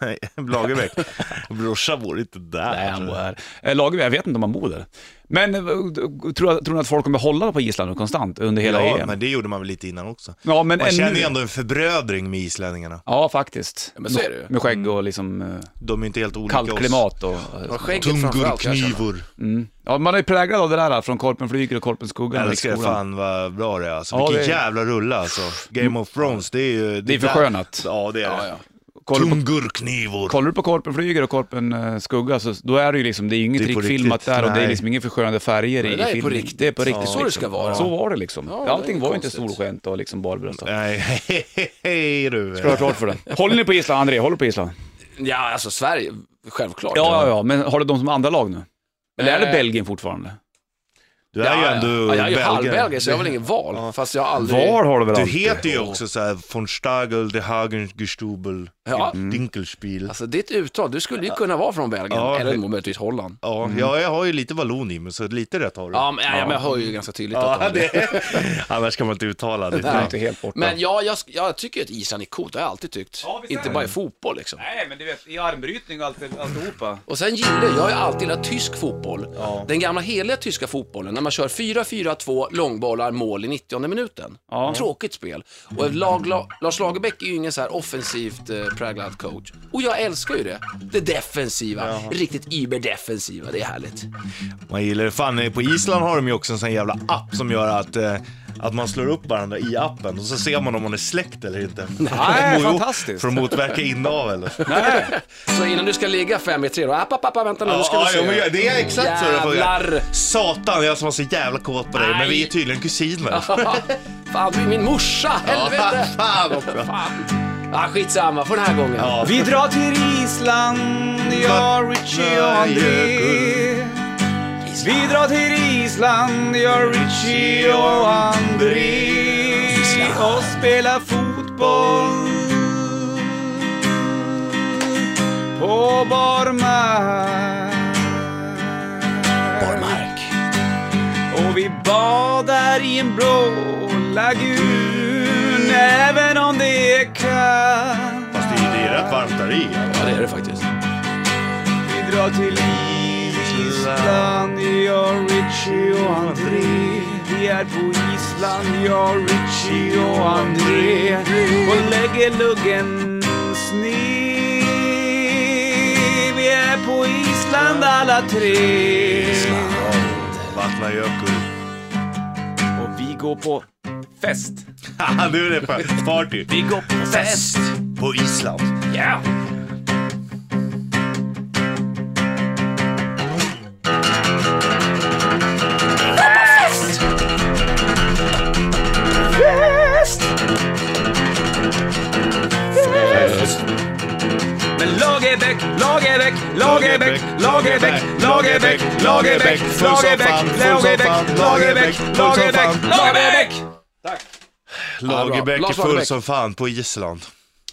S2: Nej, Lagerbäck.
S1: (laughs)
S2: Brorsan bor inte där.
S1: Nej, han bor här. Eh, Lagerbäck, jag vet inte om han bor där. Men eh, tror, tror ni att folk kommer hålla på Island nu konstant under hela
S2: Ja,
S1: EM?
S2: men det gjorde man väl lite innan också.
S1: ja, men
S2: Man känner
S1: ännu...
S2: ju ändå en förbrödring med islänningarna.
S1: Ja, faktiskt.
S5: men så är det ju.
S1: Med skägg och liksom eh,
S2: De är inte helt olika
S1: kallt
S2: oss.
S1: klimat och...
S5: Ja, skägget
S2: Tungor,
S5: framförallt kan jag känna.
S2: knivor.
S1: Mm. Ja, man är ju präglad av det där från Korpen flyger och Korpen skugga.
S2: Jag älskar det fan vad bra det är alltså.
S1: Ja,
S2: Vilken
S1: det är-
S2: jävla rulla alltså. Game of Thrones, det är ju...
S1: Det är förskönat.
S2: Ja, det är det.
S5: Ja, ja.
S1: Kollar du på,
S2: Tungor, knivor.
S1: kollar du på Korpen flyger och Korpen eh, skugga så då är det ju liksom, det är ju inget
S2: Det är på
S1: riktfilmat
S2: riktigt.
S1: där och det
S2: Nej.
S1: är liksom inga förskönande färger i
S5: det
S1: i
S5: där är på
S1: filmen.
S5: riktigt.
S1: Det är på riktigt.
S5: Så det ska vara.
S1: Så var det liksom.
S5: Ja, det är
S1: Allting var ju inte
S5: konstigt.
S1: solskämt och liksom barbröstat.
S2: Nej, (laughs) hej, hej, hej du.
S1: Ska du ha klart för det. Håller ni på Island, André? Håller du på Island?
S5: Ja, alltså Sverige, självklart.
S1: Ja, ja, ja, men har du dem som andra lag nu? Eller är det
S5: Eh.
S1: Belgien fortfarande?
S2: Du är ju
S5: Ja,
S2: ändå
S5: ja, jag är ju
S2: belgare.
S5: halvbelgare så jag har väl ingen val. Fast jag har aldrig...
S1: VAR har du väl
S2: Du
S1: alltid?
S2: heter ju också såhär von Stagel, de Hagen, Gestubel,
S5: Ja.
S2: Dinkelspiel.
S5: Alltså ditt uttal, du skulle ju kunna vara från Belgien,
S2: Ja,
S5: eller
S2: det-
S5: möjligtvis Holland.
S2: Ja, ja, jag har ju lite vallon i mig, så lite rätt har du.
S5: Ja, men, ja, men jag hör ju ganska tydligt att de
S2: Ja,
S5: har det.
S2: det. (laughs) Annars kan man inte uttala
S5: (laughs)
S2: det.
S1: Du är inte helt borta.
S5: Men ja, jag, jag tycker att Island är coolt, det har jag alltid tyckt.
S1: Ja, visst är
S5: Inte
S1: det.
S5: bara i fotboll liksom.
S1: Nej, men du vet, i armbrytning och allt, alltihopa.
S5: Och sen gillar jag, jag har ju alltid gillat tysk fotboll. Den gamla heliga tyska fotbollen, när man kör 4-4-2, långbollar, mål i 90 minuten.
S1: Ja.
S5: Tråkigt spel. Och ett lag, la, Lars Lagerbäck är ju ingen så här offensivt eh, präglad coach. Och jag älskar ju det. Det defensiva, riktigt überdefensiva, det är härligt.
S2: Man gillar det. Fan, eh, på Island har de ju också en sån jävla app som gör att, eh, att man slår upp varandra i appen och så ser man om man är släkt eller inte. (laughs)
S1: Nej, fantastiskt.
S2: För att motverka inavel.
S1: Nej.
S5: Så innan du ska ligga 5 i 3 då, app, app, app, vänta nu, nu
S2: Ja,
S5: ska
S2: ja,
S5: du se.
S2: men det är exakt så det (laughs)
S5: Jävlar.
S2: fungerar. Satan, jag som var så jävla kåt på dig, men vi är tydligen
S5: (laughs)
S2: kusiner.
S5: Fan, du är min morsa, helvete!
S2: Fan också.
S5: Fan. Ah, skitsamma, för den här gången.
S2: Ja.
S1: Vi drar till Island, jag, Richie och André. Vi drar till Island, jag, Richie och André. Och spelar fotboll på barmark. Och vi badar i en blå lagun, även om det är kallt.
S2: Fast det är, det är rätt varmt där i.
S5: Ja, det är det faktiskt.
S1: Vi drar till Island, jag, Richie och André. Vi är här på Island, jag, Richie och André. Och lägger luggen sned. Vi är på Island alla tre.
S2: Vattna Jökull.
S1: Och vi går på fest.
S2: Haha, (laughs) nu är det för- party.
S1: Vi går på fest.
S2: På Island.
S1: Ja! Men Lagerbäck, Lagerbäck, Lagerbäck, Lagerbäck, Lagerbäck, Lagerbäck,
S2: Full som
S1: Lagerbäck,
S2: fan, full
S1: Lagerbäck,
S2: som fan,
S1: Lagerbäck,
S2: full som
S1: Lagerbäck,
S2: fan.
S1: Lagerbäck!
S2: Lagerbäck
S5: Lars
S2: är full
S5: Lagerbäck.
S2: som fan på Island.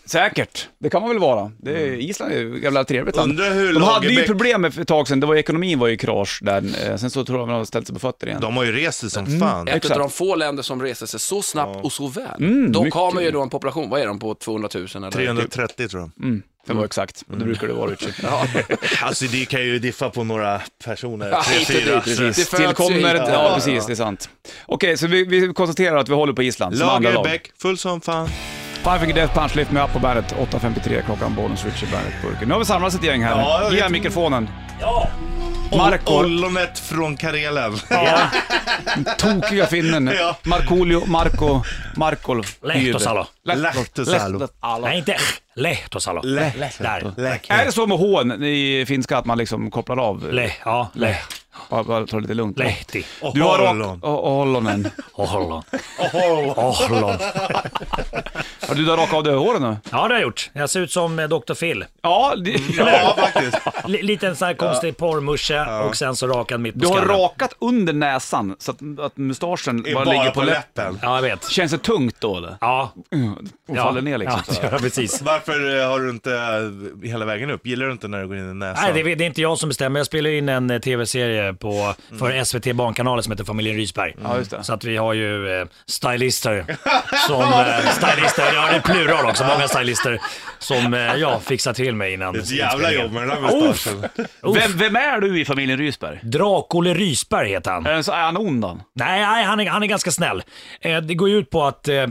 S1: Säkert, det kan man väl vara. Det är, Island är ju ett jävla trevligt land.
S2: Undrar hur
S1: de hade ju
S2: Lagerbäck-
S1: problem med för ett tag sedan, det var, ekonomin var ju i krasch där. Eh, Sen så tror jag de har ställt sig på fötter igen.
S2: De har ju rest sig som fan.
S5: Ett
S1: Exakt. Mm,
S5: av de få länder som reser sig så snabbt och så väl. de kommer ju då en population, vad är de på 200 000 eller?
S2: 330 tror jag.
S1: För att vara exakt,
S2: Mm.
S1: och det brukar det vara
S2: (laughs)
S1: Richie.
S5: Ja,
S2: Alltså det kan ju diffa på några personer.
S5: Ja,
S2: Tre,
S5: hit och
S2: fyra.
S5: dit,
S1: Precis.
S5: Det föds ju
S1: Tillkommer
S5: hit.
S1: ett... Ja,
S5: Ja,
S1: precis, det är sant. Okej, så vi, vi konstaterar att vi håller på Island som andra lag.
S2: Lagerbäck, full som fan.
S1: Five Finger Death Punch, Lift Me Up på bandet. 8.53 klockan, Bonus Richie Bandet-burken. Nu har vi samlats ett gäng här.
S2: Ja, jag
S1: Ge
S2: vet.
S1: mikrofonen. Marko.
S2: Marko. Ollonet från Karelen. (laughs)
S1: Ja. Tokiga finnen.
S2: Ja.
S1: Markoolio, Marko, Markol.
S6: Lehtosalo.
S2: Lehtosalo.
S6: Nej, inte Lehtosalo.
S2: Le-
S6: Där.
S1: Är det så med hån i finska att man liksom kopplar av?
S6: Le, ja, le,
S1: Bara, bara ta det lite lugnt.
S6: lehti.
S1: Du har rakt...
S2: Ollon.
S1: Och och ollonen.
S6: Ohollon. Ohollon.
S1: Har du rakat av dig håren nu?
S6: Ja, det har jag gjort. Jag ser ut som eh, Dr. Phil.
S1: Mm. Ja, det,
S2: Ja, faktiskt.
S6: L- liten sån här konstig porrmusche och sen så rakad mitt på
S1: Du har
S6: skallen.
S1: rakat under näsan så att, att mustaschen
S2: Det är
S1: bara, ligger
S2: bara
S1: på
S2: på
S1: läppen.
S2: läppen.
S6: Ja, jag vet.
S1: Känns det tungt då eller?
S6: Ja.
S1: Mm. Och
S6: ja.
S1: faller ner liksom.
S6: Ja, (laughs)
S1: så här.
S6: ja precis.
S2: Varför eh, har du inte eh, hela vägen upp? Gillar du inte när du går in i
S1: Alltså.
S2: näsan?
S6: Nej, det, är- det är inte jag som bestämmer. Jag spelar in en eh, tv-serie på, för SVT Barnkanalen som heter Familjen Rysberg.
S1: Mm. Ja, just det.
S6: Så att vi har ju eh,
S1: (laughs)
S6: stylister som... Eh, stylister, ja det är plural också, många stylister som eh, jag fixar till mig innan.
S2: Det är ett jävla
S6: inspelningen.
S2: jobb med den där mustaschen.
S1: Vem, vem är du i familjen Rysberg?
S6: Drak-Olle Rysberg heter han.
S1: Är, den så, är han ond han?
S6: Nej, nej han, är, han är ganska snäll. Eh, det går ju ut på att eh, eh,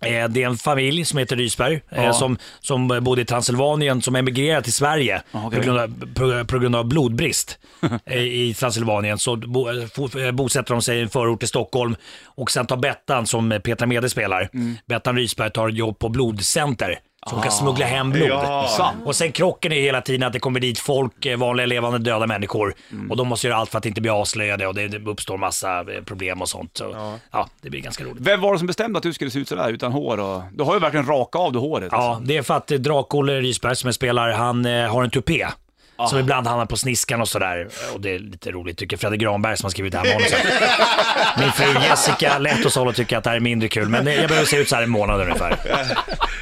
S6: det är en familj som heter Rysberg eh,
S1: Ja.
S6: som, som bodde i Transylvanien som emigrerade till Sverige
S1: okej.
S6: på, grund av, på, på grund
S1: (laughs)
S6: av blodbrist eh, i Transylvanien. Så bo, eh, fo- eh, bosätter de sig i en förort till Stockholm och sen tar Bettan, som eh, Petra Mede spelar,
S1: Mm.
S6: Bettan Rysberg tar ett jobb på blodcenter. Så
S1: Ah.
S6: hon kan smuggla hem blod.
S2: Ja.
S1: Sant.
S6: Och sen krocken är hela tiden att det kommer dit folk, eh, vanliga levande döda människor.
S2: Mm.
S6: Och de måste göra allt för att inte bli avslöjade och det det uppstår massa eh, problem och sånt. Så, ja. det blir ganska roligt.
S1: Vem var det som bestämde att du skulle se ut sådär utan hår? Och... Du har ju verkligen rakat av dig håret.
S6: Ja, det är för att eh, Drak-Olle Rysberg som är spelare, han eh, har en tupé. Som ibland hamnar på sniskan och sådär. Och det är lite roligt tycker Fredrik Granberg som har skrivit det här manuset.
S2: (laughs)
S6: Min fru Jessica Lehtosalo tycker att det här är mindre kul, men eh, jag behöver se ut så här i en månad ungefär.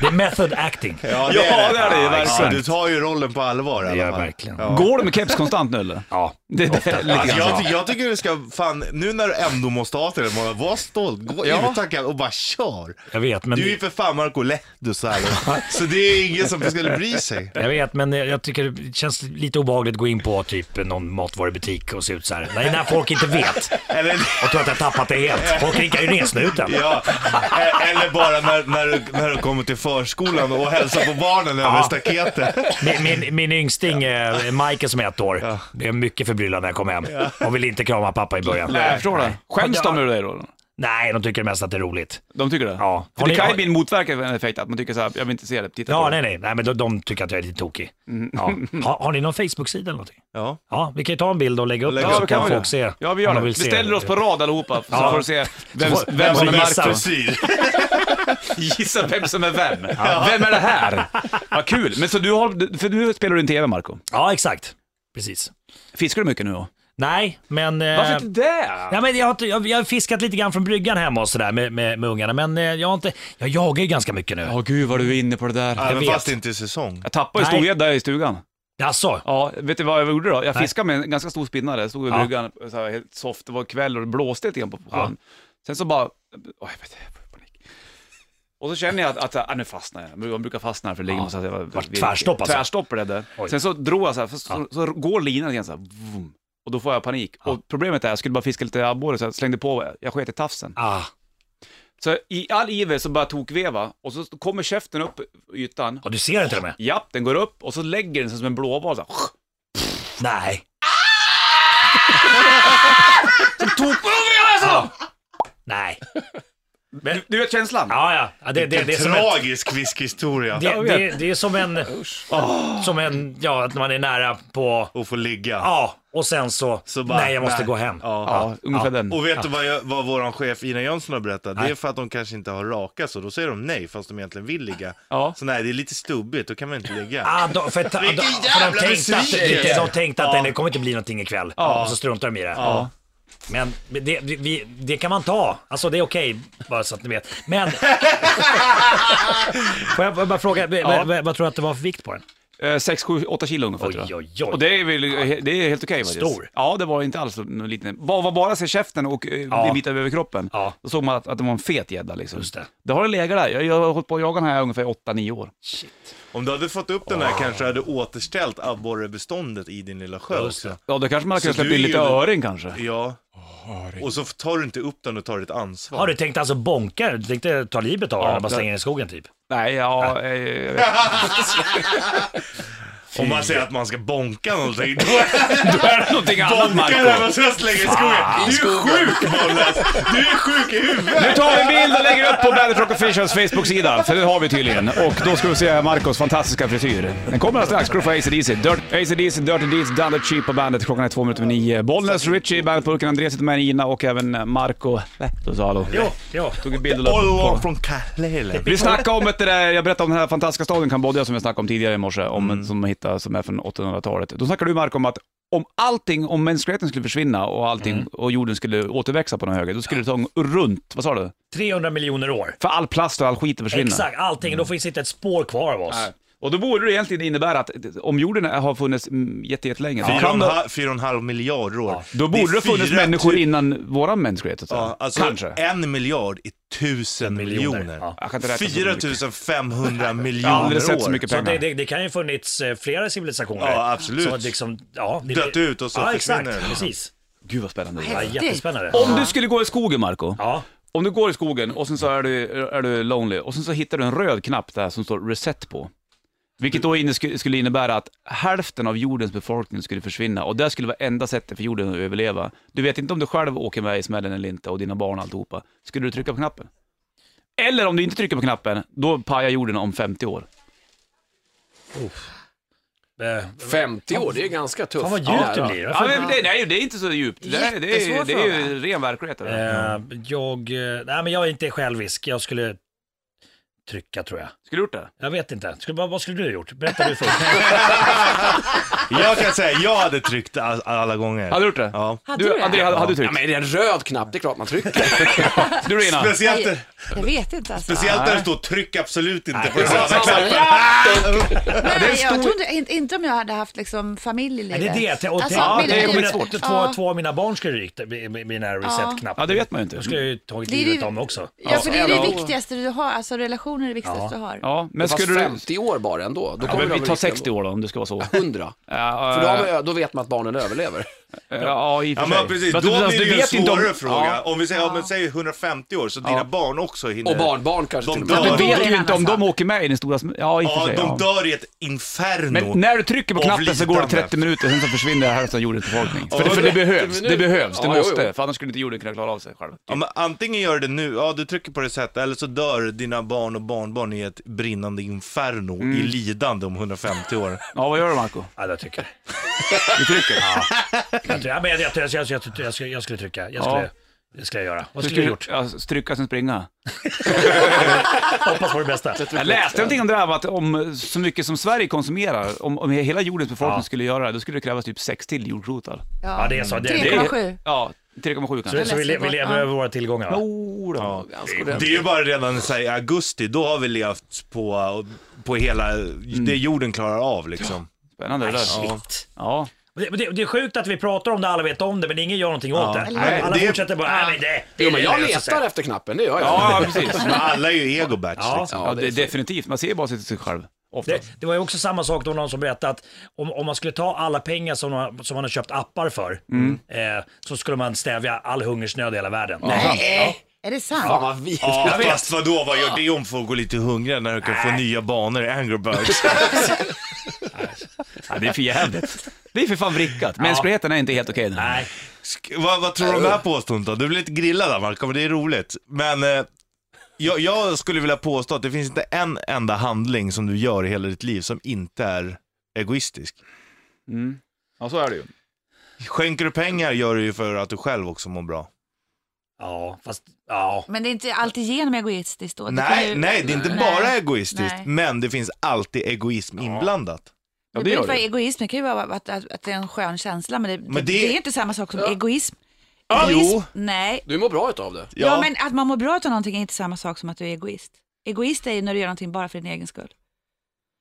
S6: Det är method acting.
S2: Ja,
S1: Ja, det är det ju,
S2: Ja,
S1: verkligen.
S2: Du tar ju rollen på allvar i
S6: Det gör
S2: alla
S6: jag
S2: fall.
S6: verkligen.
S2: Ja.
S1: Går du med keps konstant nu eller?
S6: Ja.
S1: Det, det, är lite
S2: Alltså,
S1: grann
S2: jag,
S1: så.
S2: ty- jag tycker du ska, fan, nu när du ändå måste ha till det, må- var stolt, gå
S1: Ja.
S2: in i tankar och bara kör.
S6: Jag vet, men...
S2: Du är ju för fan Marco Lehto så här.
S6: (laughs)
S2: så det är ingen som skulle bry sig.
S6: Jag vet, men jag tycker det känns lite obehagligt att gå in på typ någon matvarubutik och se ut så här. Nej, när folk inte vet
S2: Eller, (laughs)
S6: och tror att jag tappat det helt. Folk klickar ju ner snuten.
S2: ja, e- eller bara när, när, du, när du kommer till förskolan och hälsar på barnen över
S6: Ja.
S2: staketet.
S6: Min, min, min yngsting, eh, Michael som är ett år, blev mycket förbryllad när jag kom hem. Och ville inte krama pappa i början.
S1: Nej, jag förstår det. Skäms de över dig då?
S6: Nej, de tycker mest att det är roligt.
S1: De tycker det?
S6: Ja.
S1: För det
S6: Har ni-
S1: kan ju bli en motverkande effekt, att man tycker såhär, jag vill inte se det, titta på
S6: Ja,
S1: det.
S6: nej, nej, nej, men de, de tycker att jag är lite tokig.
S1: Mm.
S6: Ja. Har, har ni någon Facebook-sida eller någonting?
S2: Ja.
S6: Ja, vi kan ju ta en bild och lägga upp
S2: Lägg upp.
S6: den
S1: Ja,
S6: så
S1: det kan
S6: kan
S1: vi
S6: folk
S1: göra.
S6: se.
S1: Ja, vi
S6: om
S1: gör
S6: de
S1: det.
S6: vill
S1: Vi
S6: se.
S1: ställer oss på rad allihopa, så
S6: Ja.
S1: får du se vem,
S6: får-
S1: vem som är
S6: mest
S1: Marco.
S2: frisyr.
S1: Gissa vem som är
S6: (laughs)
S1: vem. Vem är det här? Vad kul. Men så du har, för nu spelar du in TV, Marco.
S6: Ja, exakt. Precis.
S1: Fiskar du mycket nu då?
S6: Nej, men... eh,
S1: Varför inte det?
S6: Ja, men jag, har, inte- jag, jag har fiskat lite grann från bryggan hemma och sådär med, med, med ungarna, men eh, jag, har inte, jag jagar ju ganska mycket nu.
S1: Åh gud vad du är inne på det där.
S2: Ja, men
S6: vet.
S2: fast inte i säsong.
S1: Jag tappade ju
S6: Nej.
S1: storgädda i stugan.
S6: Alltså,
S1: Ja, vet du vad jag gjorde då? Jag
S6: Nej.
S1: fiskade med en ganska stor spinnare, Jag stod vid
S6: Ja.
S1: bryggan, så här, helt soft, det var kväll och det blåste lite grann på på
S6: Ja.
S1: sjön. Sen så bara, åh jag vet inte, jag får panik. Och så känner jag att, att ah, nu fastnar jag, man brukar fastna här för det ligger
S6: Ja.
S1: massa...
S6: Vart tvärstopp alltså?
S1: Tvärstopp blev det.
S6: Oj.
S1: Sen så drog jag så här, för, så, så går linan igen så här, vroom. och då får jag panik. Och problemet är, jag skulle bara fiska lite abborre så jag slängde på, jag sket i tafsen.
S6: Ah,
S1: Så i all iver så bara tokveva och så kommer käften upp i ytan.
S6: och du ser den till och med?
S1: Japp, den går upp och så lägger den sig som en blåval så här.
S2: (laughs)
S6: Nej.
S1: Tok... Ja.
S6: Nej.
S1: Du, du vet känslan?
S6: Ja, ja. ja det, det, det, är som en,
S2: Tragisk fiskhistoria.
S6: det,
S1: Jag vet.
S6: det, det är som en... Som en... Ja, att man är nära på...
S2: Och få ligga.
S6: Ja, och sen så...
S2: Så bara,
S6: nej, jag måste
S2: nej.
S6: gå hem.
S2: Ja.
S1: Mm. Ja, ungefär den.
S2: Och vet du vad, jag, vad våran chef Ina Jönsson har berättat? Det
S6: Nej.
S2: är för att de kanske inte har raka så då säger de nej fast de egentligen vill ligga.
S1: Ja.
S2: Så nej, det är lite stubbigt, då kan man inte ligga.
S6: Ah, de, för, att-
S2: Vilken
S6: de- för
S2: jävla
S6: de tänkte att,
S2: besvikelse!
S6: de, de tänkte att nej, det kommer inte bli någonting ikväll. Och så struntar de i det. Men det, vi, det kan man ta. Alltså det är okej, bara så att ni vet.
S2: (laughs)
S6: Men... Får jag bara fråga, vad, vad, vad tror du att det var för vikt på den?
S1: Eh, sex, sju, åtta kilo ungefär
S6: Oj,
S1: tror jag.
S6: oj, oj.
S1: Och det är, väl, det är helt okej faktiskt.
S6: Stor.
S1: Ja, det var inte alls någon liten. Var, var bara sig käften och eh,
S6: Ja.
S1: en bit över överkroppen.
S6: Ja.
S1: Då såg man att, att det var en fet gädda liksom.
S6: Just det.
S1: det har legat där. Jag, jag har hållit på att jaga den här i ungefär 8-9 år.
S2: Om du hade fått upp den
S1: Ah.
S2: här kanske du hade återställt abborrebeståndet i din lilla sjö
S6: Just
S2: också.
S1: Ja, då kanske man kunde
S2: Så
S1: släppa
S2: du
S1: in
S2: är
S1: lite
S2: ju-
S1: öring kanske.
S2: Ja. Och så tar du inte upp den och tar ditt ansvar.
S1: Ah,
S6: Har du tänkt alltså bonka den? Du tänkte ta livet av den
S1: Ja,
S6: och bara
S1: det-
S6: slänga den i skogen typ?
S1: Nej, ja, eh, jag vet.
S2: Om man säger att man ska bonka någonting, då
S1: Då är det någonting annat
S2: bonkar den
S1: Marco.
S2: och så slänger i skogen. Du är sjuk Bollas! Du är sjuk i huvudet!
S1: Nu tar vi en bild och lägger upp på Bandit Rock Officials Facebook-sida, för det har vi tydligen. Och då ska vi se Marcos fantastiska frisyr. Den kommer alldeles strax. Ska du få AC/DC, Dirt, AC/DC, Dirty Deeds, Dundlet Cheap på Bandet. Klockan är två minuter över nio. Bollnäs, Richie, Bandetburken, Andreas sitter med Ina och även Marco Lehtosalo.
S6: Jo, jo.
S1: Tog en bild och la upp
S2: All
S1: på-
S2: från Kalele.
S1: vi snackade om, vet du, det, jag berättade om den här fantastiska staden Kambodja som jag snackade om tidigare i morse, om, som de hittade, som är från 800-talet. Då snackade du Marco om att om allting, om mänskligheten skulle försvinna och allting, och jorden skulle återväxa på något höger, då skulle det ta runt, vad sa du?
S6: 300 miljoner år.
S1: För all plast och all skit försvinner.
S6: Exakt, allting.
S2: Mm.
S6: Då finns inte ett spår kvar av oss.
S1: Nej. Och då borde det egentligen innebära att om jorden har funnits mm, jätte- jättelänge, så
S2: Fyra och
S1: kan
S2: en
S1: det,
S2: halv- fyra och en halv miljard år.
S1: då borde det typ- ha funnits
S2: fyra
S1: människor
S2: tu-
S1: innan våran mänsklighet. Så. att säga.
S2: Ja, alltså
S1: Kanske.
S2: en miljard är tusen miljoner.
S6: Miljoner,
S1: Jag kan inte räkna så mycket.
S2: 4500
S1: (laughs) Jag har
S2: miljoner
S1: aldrig sett så
S2: år.
S1: mycket
S6: Så
S1: pengar.
S6: det, det, det kan ju funnits eh, flera civilisationer.
S2: Ja, absolut.
S6: Som liksom, ja, det,
S2: Dött ut och så
S6: Ja,
S2: försvinner
S6: exakt.
S2: den.
S6: Precis.
S1: Gud vad spännande det är.
S6: Ja, jättespännande.
S1: Om du skulle gå i skogen, Marco
S6: Ja.
S1: Om du går i skogen och sen så är du, är du lonely och sen så hittar du en röd knapp där som står reset på. Vilket då inne, sku- skulle innebära att hälften av jordens befolkning skulle försvinna och det skulle vara enda sättet för jorden att överleva. Du vet inte om du själv åker med i smällen eller inte och dina barn och alltihopa. Skulle du trycka på knappen? Eller om du inte trycker på knappen, då pajar jorden om 50 år.
S6: Eh,
S5: 50 år, det är ganska tufft.
S6: Fan vad djupt
S5: Ja,
S6: det
S5: ja.
S6: blir.
S1: Ja,
S6: Jag,
S1: men det, nej, det är inte så djupt. Det, är- det, är,
S5: Jättesvår
S1: det är ju ren verklighet. det där.
S6: eh, jag, eh, nej, men jag är inte självisk. Jag skulle trycka tror jag.
S1: Skulle du gjort det?
S6: Jag vet inte. Skulle, vad, vad skulle du ha gjort? Berätta du först.
S2: Jag kan säga, jag hade tryckt all- alla gånger.
S1: Hade du gjort det?
S2: Ja.
S7: Hade du
S1: Du,
S7: det?
S1: André, hade, hade du
S5: Ja,
S1: tryckt?
S5: men är det en röd knapp, det är klart
S1: (laughs)
S5: man trycker.
S1: Du då,
S2: (laughs)
S1: Ina?
S2: Speciellt,
S7: Nej, jag vet inte alltså.
S2: speciellt där det står tryck absolut inte på den
S5: Ja,
S1: Alltså,
S2: här
S5: samma.
S2: knappen.
S7: Nej, jag tror inte, inte, inte om jag hade haft liksom familj i
S6: Nej,
S7: livet.
S6: det är det. jag- Och,
S7: Alltså,
S6: tänk-
S7: men-
S1: det är
S6: mina-
S1: skitsvårt.
S6: Två,
S7: Ja.
S6: två av mina barn skulle rykt mina reset-knappar.
S1: Ja, det vet man ju inte.
S6: Då skulle jag ju tagit
S7: Det är
S6: livet
S7: det-
S6: av mig också.
S7: Ja, för det är det
S5: Ja.
S7: viktigaste du har, alltså relationer är det viktigaste du har.
S1: Ja, men
S5: Fast
S1: skulle du...
S5: 50 år bara ändå. Då
S1: Ja,
S5: kommer
S1: men vi
S5: de
S1: tar
S5: att-
S1: 60 år då, om det ska vara så.
S5: 100.
S1: Ja,
S5: För då,
S1: eh,
S5: har man, då vet man att barnen överlever.
S1: ja, i och
S2: Ja
S1: för
S2: men
S1: sig.
S2: precis, då
S1: Fast alltså, du-
S2: blir
S1: fast
S2: det ju en
S1: inte om-
S2: svårare fråga.
S1: Ja,
S2: Om vi säger, ja, men säg 150 år, så dina barn också hinner...
S5: Och barnbarn kanske
S2: De
S5: till och
S2: dör.
S5: med.
S1: du
S2: Ja, då är
S1: vet
S7: det
S1: ju
S7: en
S1: inte om
S7: annan
S1: de åker med i den stora... sm- Ja, i och för
S2: Ja,
S1: sig.
S2: de
S1: ja.
S2: dör i ett inferno.
S1: Men när du trycker på
S2: Av
S1: knappen så går det
S2: lidande.
S1: 30 minuter, sen så försvinner hälften av jordens befolkning. För, det,
S2: Ja,
S1: för det
S5: 30
S1: behövs, det
S5: minuter.
S1: behövs, det
S5: Ja, jo,
S1: måste.
S5: jo.
S1: För annars skulle inte jorden kunna klara av sig själv.
S2: Ja, men antingen gör det nu, ja du trycker på det sättet, eller så dör dina barn och barnbarn i ett brinnande inferno i lidande om 150 år.
S1: Ja, vad gör du Marco?
S6: Ja, jag tycker
S1: Du trycker?
S6: jag. tror- Ja, men jag, jag, jag, jag, jag, jag, skulle- jag skulle trycka. Jag
S1: Ja.
S6: skulle, det skulle jag göra. Vad
S1: Du
S6: skulle jag
S1: skulle
S6: gjort?
S1: ja, stryka sen springa.
S6: Hoppas på det bästa.
S1: Jag läste någonting om det här med att om så mycket som Sverige konsumerar, om, om hela jordens befolkning
S6: Ja.
S1: skulle göra det, då skulle det krävas typ sex till jordklotar.
S6: Ja, det är så. Det, det,
S7: 3,7.
S1: Ja, 3,7
S6: så,
S1: kanske.
S6: det, så vi, le- vi lever
S7: Ja.
S6: över våra tillgångar. va?
S1: Oh, då.
S5: Ganska
S2: Det är
S5: ordentligt.
S2: ju bara redan så här i augusti, då har vi levt på, på hela, det jorden klarar av liksom.
S1: Spännande det där.
S6: Shit.
S1: Ja.
S6: Men Det, men det, det är sjukt att vi pratar om det, alla vet om det, men ingen gör någonting åt det.
S2: Eller
S6: Alla-
S2: hur?
S6: alla
S2: Det-
S6: fortsätter bara, nej men det... det
S5: Jo, men
S6: är
S5: jag
S6: det som
S5: letar
S6: säger.
S5: efter knappen, det gör jag.
S1: alltså Ja, precis.
S2: Men alla är ju egobats
S6: Ja.
S2: liksom.
S1: Ja, det är definitivt. Man ser bara sig till sig själv. Oftast.
S6: Det, det var ju också samma sak, då någon som berättade att om, om man skulle ta alla pengar som, man- som man har köpt appar för, eh, så skulle man stävja all hungersnöd i hela världen.
S5: Nej!
S7: Är det sant?
S5: Fan vad vidrigt.
S2: Ja, fast vadå, vad gör det om folk går lite hungriga när de kan få nya banor i Angry Birds?
S1: Ja, det är för jävligt. Det är för fan vrickat. Mänskligheten är inte helt okej. Okay
S6: Nej.
S2: Sk- vad, vad tror du om det här påståendet då? Du blir lite grillad där Marko, men det är roligt. Men eh, jag, jag skulle vilja påstå att det finns inte en enda handling som du gör i hela ditt liv som inte är egoistisk.
S1: Ja, så är det ju.
S2: Skänker du pengar gör du ju för att du själv också mår bra.
S6: Ja, fast ja.
S7: Men det är inte alltid genom egoistiskt då? Det kan
S2: Nej,
S7: ju-
S2: nej, det är inte bara egoistiskt,
S7: Nej.
S2: men det finns alltid egoism inblandat.
S1: Ja,
S7: Det
S1: det
S7: behöver
S1: gör
S7: inte vara
S1: det.
S7: egoism, det kan ju vara att, att, att det är en skön känsla, men det,
S2: Men
S7: det,
S2: det-
S7: är inte samma sak som
S5: Ja.
S7: egoism.
S2: Ja,
S7: egoism.
S2: jo.
S7: Nej.
S5: Du mår bra utav det.
S7: Ja. men att man mår bra av någonting är inte samma sak som att du är egoist. Egoist är ju när du gör någonting bara för din egen skull.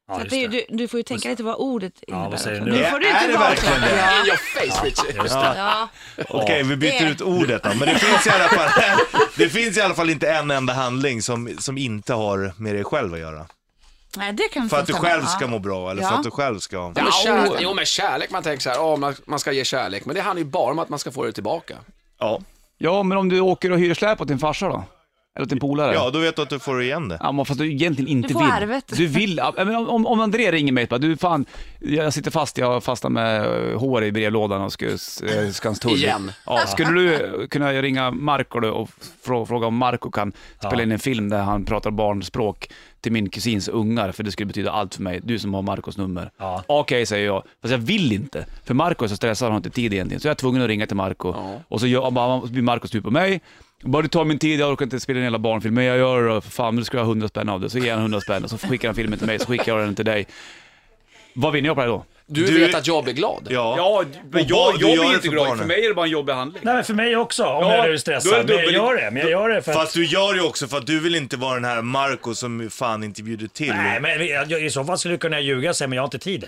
S6: ja
S7: så att
S6: just
S7: det, är-
S6: det.
S7: du, du får ju tänka lite vad ordet
S6: vad
S7: innebär.
S6: säger
S7: också.
S6: du?
S7: nu
S2: Ja,
S7: får du
S2: är
S7: inte
S2: det
S7: vara
S2: verkligen
S7: sån.
S2: det?
S5: In your face Richie.
S7: Ja. Ja.
S2: Okej, vi byter
S7: det-
S2: ut ordet då, men det finns, i alla fall, (laughs) det finns i alla fall inte en enda handling som, som inte har med dig själv att göra.
S7: Nej, det kan
S2: För att du
S7: stämma.
S2: själv
S7: Ja.
S2: ska må bra, eller för
S7: Ja.
S2: att du själv ska...
S5: Ja, men kär, jo men kärlek, man tänker så här, ja, man, man ska ge kärlek, men det handlar ju bara om att man ska få det tillbaka.
S2: Ja.
S1: Ja, men om du åker och hyr släp åt din farsa då? Eller åt din polare?
S2: ja, då vet du att du får igen det.
S1: Ja, men fast du egentligen inte
S7: Du får
S1: vill.
S7: arvet.
S1: Du vill. ja, Men om- om, om André ringer mig och bara, du fan, jag sitter fast, jag fastnar med eh, hår i brevlådan och Skanstull.
S5: Igen.
S1: Ja, skulle du eh, kunna ringa Marco då och frå- fråga om Marco kan spela in en film där han pratar barnspråk till min kusins ungar, för det skulle betyda allt för mig. Du som har Marcos nummer.
S6: Ja.
S1: Okej, säger jag. Fast jag vill inte. För Marco är så stressad, han har inte tid egentligen. Så jag är tvungen att ringa till Marco. Och så gör, bara, så blir Marco sur på mig. Bara du tar min tid, jag orkar inte spela en hela barnfilm, men jag gör det då, för fan, men du ska jag ha 100 spänn av det. Så ger han 100 spänn och så skickar han filmen till mig, så skickar jag den till dig. Vad vinner jag på det här då?
S5: Du,
S2: Du-
S5: vet att jag blir glad.
S2: Ja,
S1: men
S2: Och vad du gör för barnen.
S1: är det bara en jobbig handling.
S6: Nej men för mig också, om
S1: Ja,
S6: jag
S1: då är
S6: är
S1: det
S6: stressad. men jag
S1: dubbel-
S6: gör det, men jag gör det för att...
S2: Fast du gör det också för att du vill inte vara den här Marco som fan inte bjuder till.
S6: Nej men jag, jag, i så fall skulle jag kunna ljuga och säga men jag har inte tid.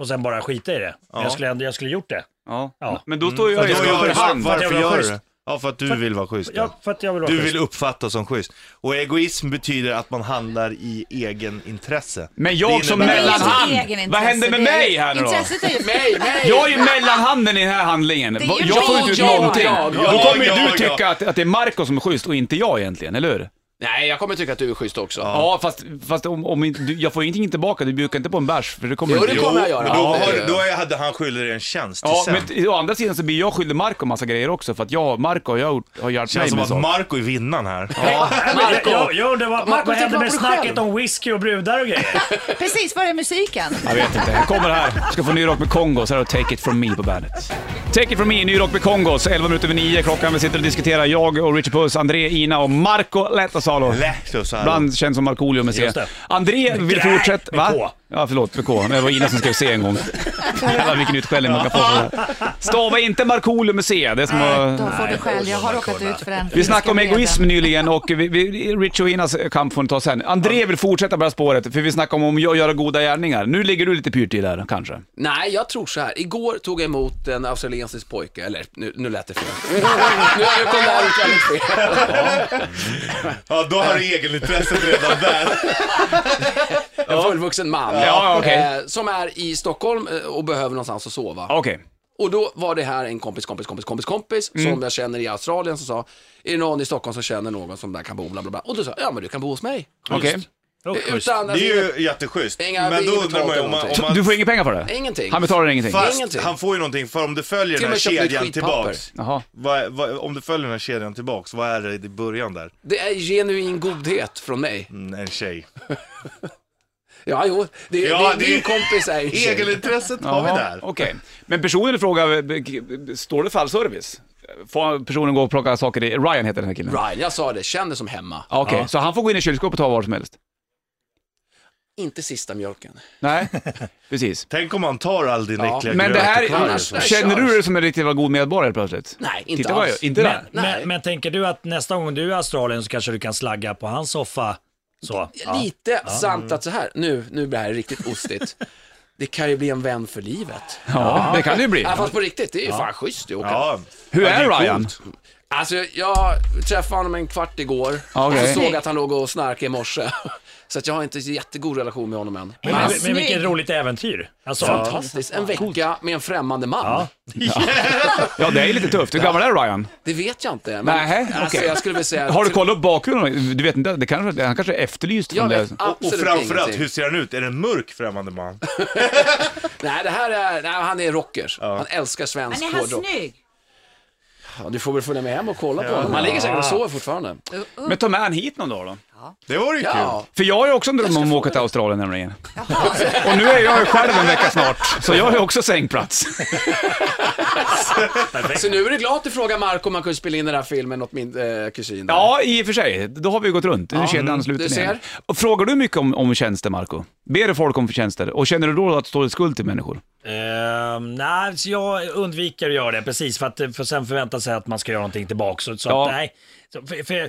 S6: Och sen bara skita i det. Men jag skulle ändå, jag skulle gjort det.
S1: Ja.
S6: Ja.
S1: Men då står
S2: För
S1: jag
S2: att
S1: i
S2: jag gör det.
S1: skuld
S6: För att
S2: Varför
S6: jag vill vara
S2: gör du
S6: schysst.
S2: det? Ja, för att du vill vara schysst.
S6: Ja,
S2: ja.
S6: för att jag vill vara
S2: Du
S6: schysst.
S2: vill uppfattas som schysst. Och egoism betyder att man handlar i egen intresse.
S1: Men
S2: Det
S1: jag
S2: innebär-
S1: som
S7: Men det är ju inte
S1: mellanhand,
S7: egenintresse,
S1: vad händer med
S7: det är ju-
S1: mig här nu då?
S7: Intresset är ju...
S5: Mig, mig!
S1: Jag är ju mellanhanden i den här handlingen.
S7: är ju
S1: Jag får
S7: jag,
S1: inte ut
S7: jag,
S1: någonting.
S5: jag, jag.
S1: Då kommer ju
S2: Ja,
S1: du
S2: jag,
S1: tycka
S2: jag.
S1: att, att det är Marco som är schysst och inte jag egentligen, eller hur?
S5: Nej, jag kommer tycka att du är schysst också.
S1: Ja, fast, fast om, om inte, du, jag får ju ingenting tillbaka, du bjuder inte på en bärs för det kommer
S5: Jo,
S1: inte...
S5: det kommer jag göra.
S2: liksom- men då,
S5: Ja, det
S2: har,
S5: gör
S2: då
S5: jag.
S2: är- hade han skyldig dig en tjänst
S1: Ja,
S2: till sen.
S1: men t- å andra sidan så blir jag skyldig Marco massa grejer också för att jag, Marco har, jag, gjort- har hjälpt
S2: Känns
S1: mig
S2: som
S1: med
S2: att
S1: saker.
S2: Marco är vinnaren här.
S5: Ja,
S6: Jag, jag,
S5: Marco!
S6: jag undrar vad,
S5: Marco,
S6: vad
S5: tänk
S6: hände
S5: bara på dig
S6: med snacket
S5: själv.
S6: om whisky och brudar och grejer?
S5: (laughs)
S7: Precis, var är musiken?
S1: Jag vet inte, jag kommer här. Ska få ny rock med Kongos, här har Take It From Me på bandet. Take It From Me, ny rock med Kongos. 11 minuter över 9 klockan. Vi sitter och diskuterar, jag och Richard Puss, André, Ina och Marco Lehtosalo.
S2: Lätt så här.
S1: Ibland känns som Markoolio med C.
S6: Just det.
S1: André vill
S6: Nej,
S1: fortsätta...
S6: med K.
S1: Ja, förlåt, med K. Det var Ina som skrev C en gång. Jävlar vilken utskällning man kan få för det här. Stava inte Markoolio med C. Det är som att...
S7: Då får du själv, jag har råkat ut för den.
S1: Vi snackade om
S7: Jag ska
S1: egoism
S7: reda.
S1: nyligen och vi, vi, Rich och Inas kamp får ni ta sen. André vill fortsätta på det här spåret, för vi snackade om att göra goda gärningar. Nu ligger du lite pyrt i där, kanske.
S5: Nej, jag tror så här. Igår tog jag emot en australiensisk pojke, eller nu, nu lät
S1: (laughs)
S5: det fel. nu, nu kom det här ut väldigt fel.
S2: Ja, då har du egenintresset redan där.
S5: En fullvuxen man.
S1: Ja, okej.
S5: eh, som är i Stockholm eh, och behöver någonstans att sova.
S1: Okej.
S5: Och då var det här en kompis, kompis, kompis, kompis, kompis som jag känner i Australien som sa, är det någon i Stockholm som känner någon som där kan bo, bla bla bla. Och då sa jag, ja men du kan bo hos mig.
S1: Okej. Eh,
S6: Oh, schysst.
S5: Utan,
S2: Det
S5: alltså,
S2: är ju jätteschysst.
S5: Inga-
S2: Men då
S5: inget
S2: undrar man ju om man...
S5: betalt
S2: Om man
S1: Du får inga pengar för det?
S5: Ingenting.
S1: Han betalar ingenting?
S2: fast
S5: Ingenting.
S2: han får ju någonting, för om du följer
S5: Till
S2: den här
S5: och med köpte ett
S2: kedjan
S5: skitpapper.
S2: tillbaks.
S1: Jaha.
S2: Vad, vad, om du följer den här kedjan tillbaks, vad är det i början där?
S5: Det är genuin godhet från mig.
S2: Mm, en tjej.
S5: Ja, jo. Det,
S2: Ja,
S5: det,
S2: det-
S5: Min kompis är en tjej.
S2: Egenintresset har vi
S1: Jaha,
S2: där.
S1: Okej. Men personen i fråga, eh, b- b- står det för all service? Får personen gå och plocka saker i... Ryan heter den här killen.
S5: Ryan, jag sa det, känn dig som hemma.
S1: Okej, så han får gå in i kylskåpet och ta vad som helst?
S5: Inte sista mjölken.
S2: (laughs)
S1: Nej, precis.
S2: Tänk om han tar all din
S5: Ja,
S2: äckliga
S1: Men det här,
S5: Annars-
S1: känner du dig som en riktigt god medborgare helt plötsligt?
S5: Nej, inte
S1: Titta vad jag
S5: alls.
S1: gör. Inte
S6: Men,
S1: där?
S5: Nej.
S6: men, men tänker du att nästa gång du är i Australien så kanske du kan slagga på hans soffa? Så.
S5: Lite samt att så här, nu, nu blir det här riktigt ostigt. Det kan ju bli en vän för livet.
S1: Ja, det kan det ju bli.
S5: Ja, fast på riktigt, det är ju fan schysst. Det åker.
S2: Ja.
S1: Hur
S2: Ja,
S1: är
S2: det
S1: Ryan?
S2: coolt.
S5: Alltså jag träffade honom en kvart igår och
S1: Okej.
S5: så såg jag att han låg och snarkade i morse. (laughs) Så att jag har inte så jättegod relation med honom än.
S6: Men,
S5: Men han
S6: men, men vilket roligt äventyr. Alltså,
S5: Fantastiskt, en vecka med en främmande man.
S6: Ja.
S1: Ja, det är lite tufft. Hur gammal är Ryan?
S5: Det vet jag inte. Men
S1: Nähä,
S5: alltså,
S1: okej.
S5: jag skulle vilja
S1: (laughs)
S5: säga...
S1: Har du kollat upp bakgrunden? Du vet inte, det kanske, han kanske är efterlyst
S5: Jag
S1: från
S5: vet
S1: det.
S2: Och, och
S5: absolut
S2: framförallt,
S5: ingenting.
S2: hur ser han ut? Är det en mörk främmande man?
S5: Nej, det här är... Nej, han är rockers. Han älskar svensk
S7: Men är han
S5: hårdrock.
S7: snygg?
S5: Ja, du får väl följa med hem och kolla på honom. Han ligger
S1: Ah.
S5: säkert och sover fortfarande.
S1: Men ta med han hit någon dag då.
S2: Det vore ju
S5: Ja.
S1: För jag har ju också en dröm om att åka till Australien nämligen. (laughs) Och nu är jag ju själv en vecka snart, så jag har ju också sängplats.
S5: Så nu är du glad att du frågar Marco om han kunde spela in den här filmen åt min eh, kusin. där.
S1: Ja, i och för sig. Då har vi gått runt. Nu är kedjan
S5: Du
S1: sluten
S5: ser.
S1: igen. Och frågar du mycket om, om tjänster, Marco? Ber du folk om tjänster? Och känner du då att du står i skuld till människor?
S6: Ehm, nej, så jag undviker att göra det precis för att eh, för sen förvänta sig att man ska göra någonting tillbaka. Så, så
S1: Ja.
S6: att, nej. Så, för, för,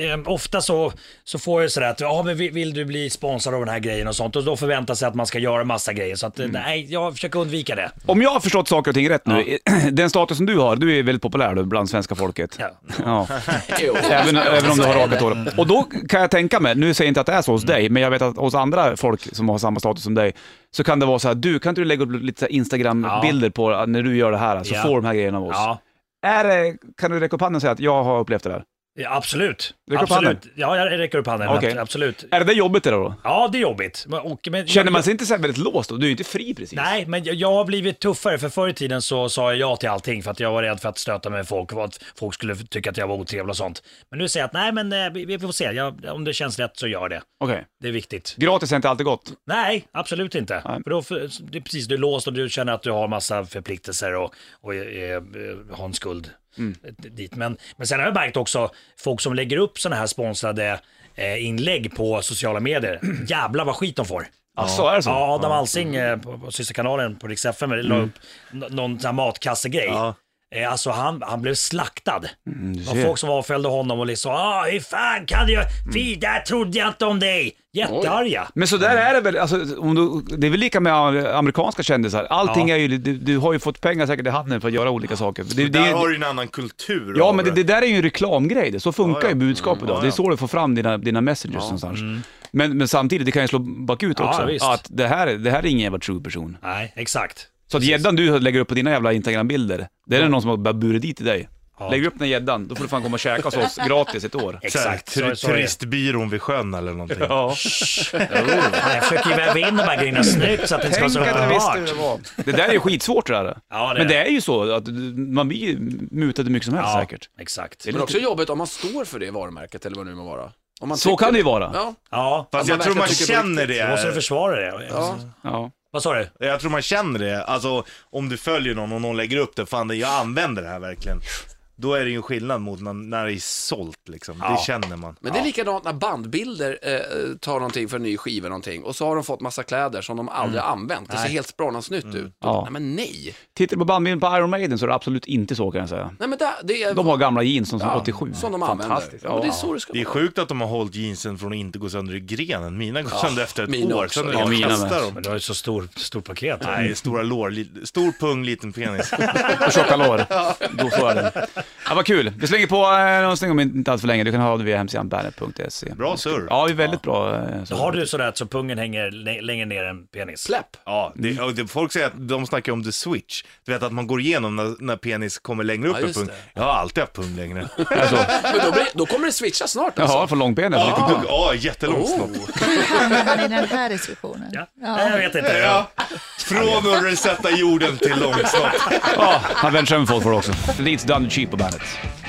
S6: ehm, ofta så, så får jag sådär att, ja men vill, vill du bli sponsrad av den här grejen och sånt och då förväntar sig att man ska göra massa grejer. Så att, eh,
S5: Mm.
S6: nej, jag försöker undvika det.
S1: Om jag har förstått saker och ting rätt nu, (clears throat) den status som du har, du är väldigt populär du, bland svenska folket.
S6: Ja.
S1: Ja.
S5: Jo.
S1: Även, även
S5: (laughs)
S1: om du har
S5: Så är det.
S1: rakat hår. Och då kan jag tänka mig, nu säger jag inte att det är så hos
S6: Mm.
S1: dig, men jag vet att hos andra folk som har samma status som dig, så kan det vara så här, du kan inte du lägga upp lite så här Instagram-bilder på att när du gör det här, så
S6: Ja.
S1: får du de här grejerna av oss.
S6: Ja,
S1: Är det, kan du räcka upp handen och säga att jag har upplevt det där?
S6: ja absolut.
S1: Räcker upp
S6: absolut. Ja, jag räcker upp handen.
S1: Okej.
S6: Absolut.
S1: Är det det jobbigt det då?
S6: Ja, det är jobbigt. Men- Och, men,
S1: Känner man sig inte så här väldigt låst då? Du är ju inte fri precis.
S6: Nej, men jag, jag har blivit tuffare. För förr i tiden så sa jag ja till allting för att jag var rädd för att stöta mig med folk och att folk skulle tycka att jag var otrevlig och sånt. Men nu säger jag att nej, men eh, vi, vi får se. Jag, om det känns rätt så gör det.
S1: Okej.
S6: Det är viktigt.
S1: Gratis är inte alltid gott.
S6: Nej, absolut inte.
S1: Nej.
S6: För då, för, det är precis, du är låst och du känner att du har massa förpliktelser och, och eh, eh, har en skuld
S1: Mm.
S6: eh, dit. Men, men sen har jag märkt också folk som lägger upp sådana här sponsrade eh, inlägg på sociala medier. (clears throat) Jävlar vad skit de får.
S1: Jaså, Alltså, är det så? Mm.
S6: Ja, Adam Alsing eh, på, på systerkanalen på Rix FM la upp n- någon sån här matkassegrej. Eh, Alltså han, han blev slaktad.
S1: Mm.
S6: det var
S1: ser.
S6: folk som avföljde honom och liksom ah, hur fan kan du,
S1: Mm.
S6: fy, där trodde jag inte om dig. Jättearga.
S1: Men så där är det väl, alltså, om du, det är väl lika med amerikanska kändisar. Allting
S6: Ja.
S1: är ju, du, du har ju fått pengar säkert i handen för att göra olika saker. Det, det,
S2: Där har du ju en annan kultur.
S1: ja,
S2: av
S1: men det, det där är ju en reklamgrej. Det. Så funkar
S2: Ja, ja.
S1: ju budskap idag.
S2: ja,
S1: Det är
S2: ja.
S1: så du får fram dina, dina messengers någonstans. Men, men samtidigt, det kan ju slå bakut
S6: Ja,
S1: också.
S6: visst.
S1: att det här, det här är ingen jävla true person.
S6: Nej, exakt.
S1: Så att gäddan du lägger upp på dina jävla Instagram-bilder, det är det någon som har bara burit dit till dig. Lägger upp den här gäddan, då får du fan komma och käka hos oss gratis ett år.
S2: Så här,
S6: Exakt.
S2: tur-
S6: Så, så är det.
S2: turistbyrån vid sjön eller någonting.
S1: Ja.
S6: Ja, (laughs) jag försöker ju väva in de här grejerna snyggt så att det inte ska vara så uppenbart.
S1: var. Det där är ju skitsvårt det där.
S6: Ja, det är
S1: Men det är ju så att man blir ju mutad hur mycket som helst
S6: Ja,
S1: säkert.
S6: exakt.
S1: Det är
S5: Men
S1: lite-
S5: också jobbigt om man står för det varumärket eller vad det nu må vara. Om man
S1: Så
S5: tycker-
S1: kan det ju vara.
S5: Ja,
S6: Ja,
S2: Fast
S5: Ja,
S2: jag
S5: man
S2: tror man
S5: verkligen tycker på
S2: känner det.
S6: då måste du försvara det.
S5: ja.
S1: Ja.
S6: Vad sa du?
S2: Jag tror man känner det. Alltså om du följer någon och någon lägger upp det, fan jag använder det här verkligen. Då är det ju en skillnad mot när, när det är sålt liksom.
S6: Ja.
S2: Det känner man.
S5: Men det är likadant när bandbilder eh, tar någonting för en ny skiva någonting och så har de fått massa kläder som de aldrig har använt. Det ser helt sprallans nytt ut.
S1: Mm. Ja.
S5: Nej men nej.
S1: Tittar du på bandbilden på Iron Maiden så är det absolut inte så kan jag säga.
S5: Nej men där, det är...
S1: De har gamla jeans som ja, 87.
S5: Som de använder.
S1: Fantastiskt.
S5: Ja, men det är så det ska
S2: Det är
S5: vara.
S2: sjukt att de har hållit jeansen från att inte gå sönder i grenen. Mina går sönder efter ett
S5: mina
S2: år.
S5: också.
S2: Sen är
S5: Ja,
S2: det
S1: mina
S2: mina
S1: med.
S2: dem.
S6: Men du har ju så stor, stor paket.
S2: Nej, stora lår, li- stor pung, liten penis.
S1: Och tjocka lår. Då så är det. Ja, vad kul. Vi slänger på eh, någonting om inte allt för länge. Du kan höra det via hemsidan bandet.se.
S2: Bra surr.
S1: Ja, det är väldigt bra. eh, så.
S6: Har du sådär att så pungen hänger lä- längre ner än penis?
S5: Släpp.
S2: Ja,
S5: Mm.
S2: det, och det, folk säger att de snackar om the switch. Du vet att man går igenom när, när penis kommer längre upp
S5: Ja,
S2: en
S5: just
S2: pung.
S5: det.
S2: Jag har alltid haft pung
S5: (laughs)
S2: längre.
S1: Alltså,
S5: Men då, blir, då kommer det switcha snart alltså.
S1: jaha, för långbenet.
S2: Ja, jättelångt
S5: Oh.
S2: snopp.
S8: hamnar i den här diskussionen.
S6: Ja. Nej, jag vet inte.
S2: Ja. Från att sätta jorden till långsnopp.
S1: Ja, han vänder sig över folk för det också. Leeds Dunder Cheap på bandet.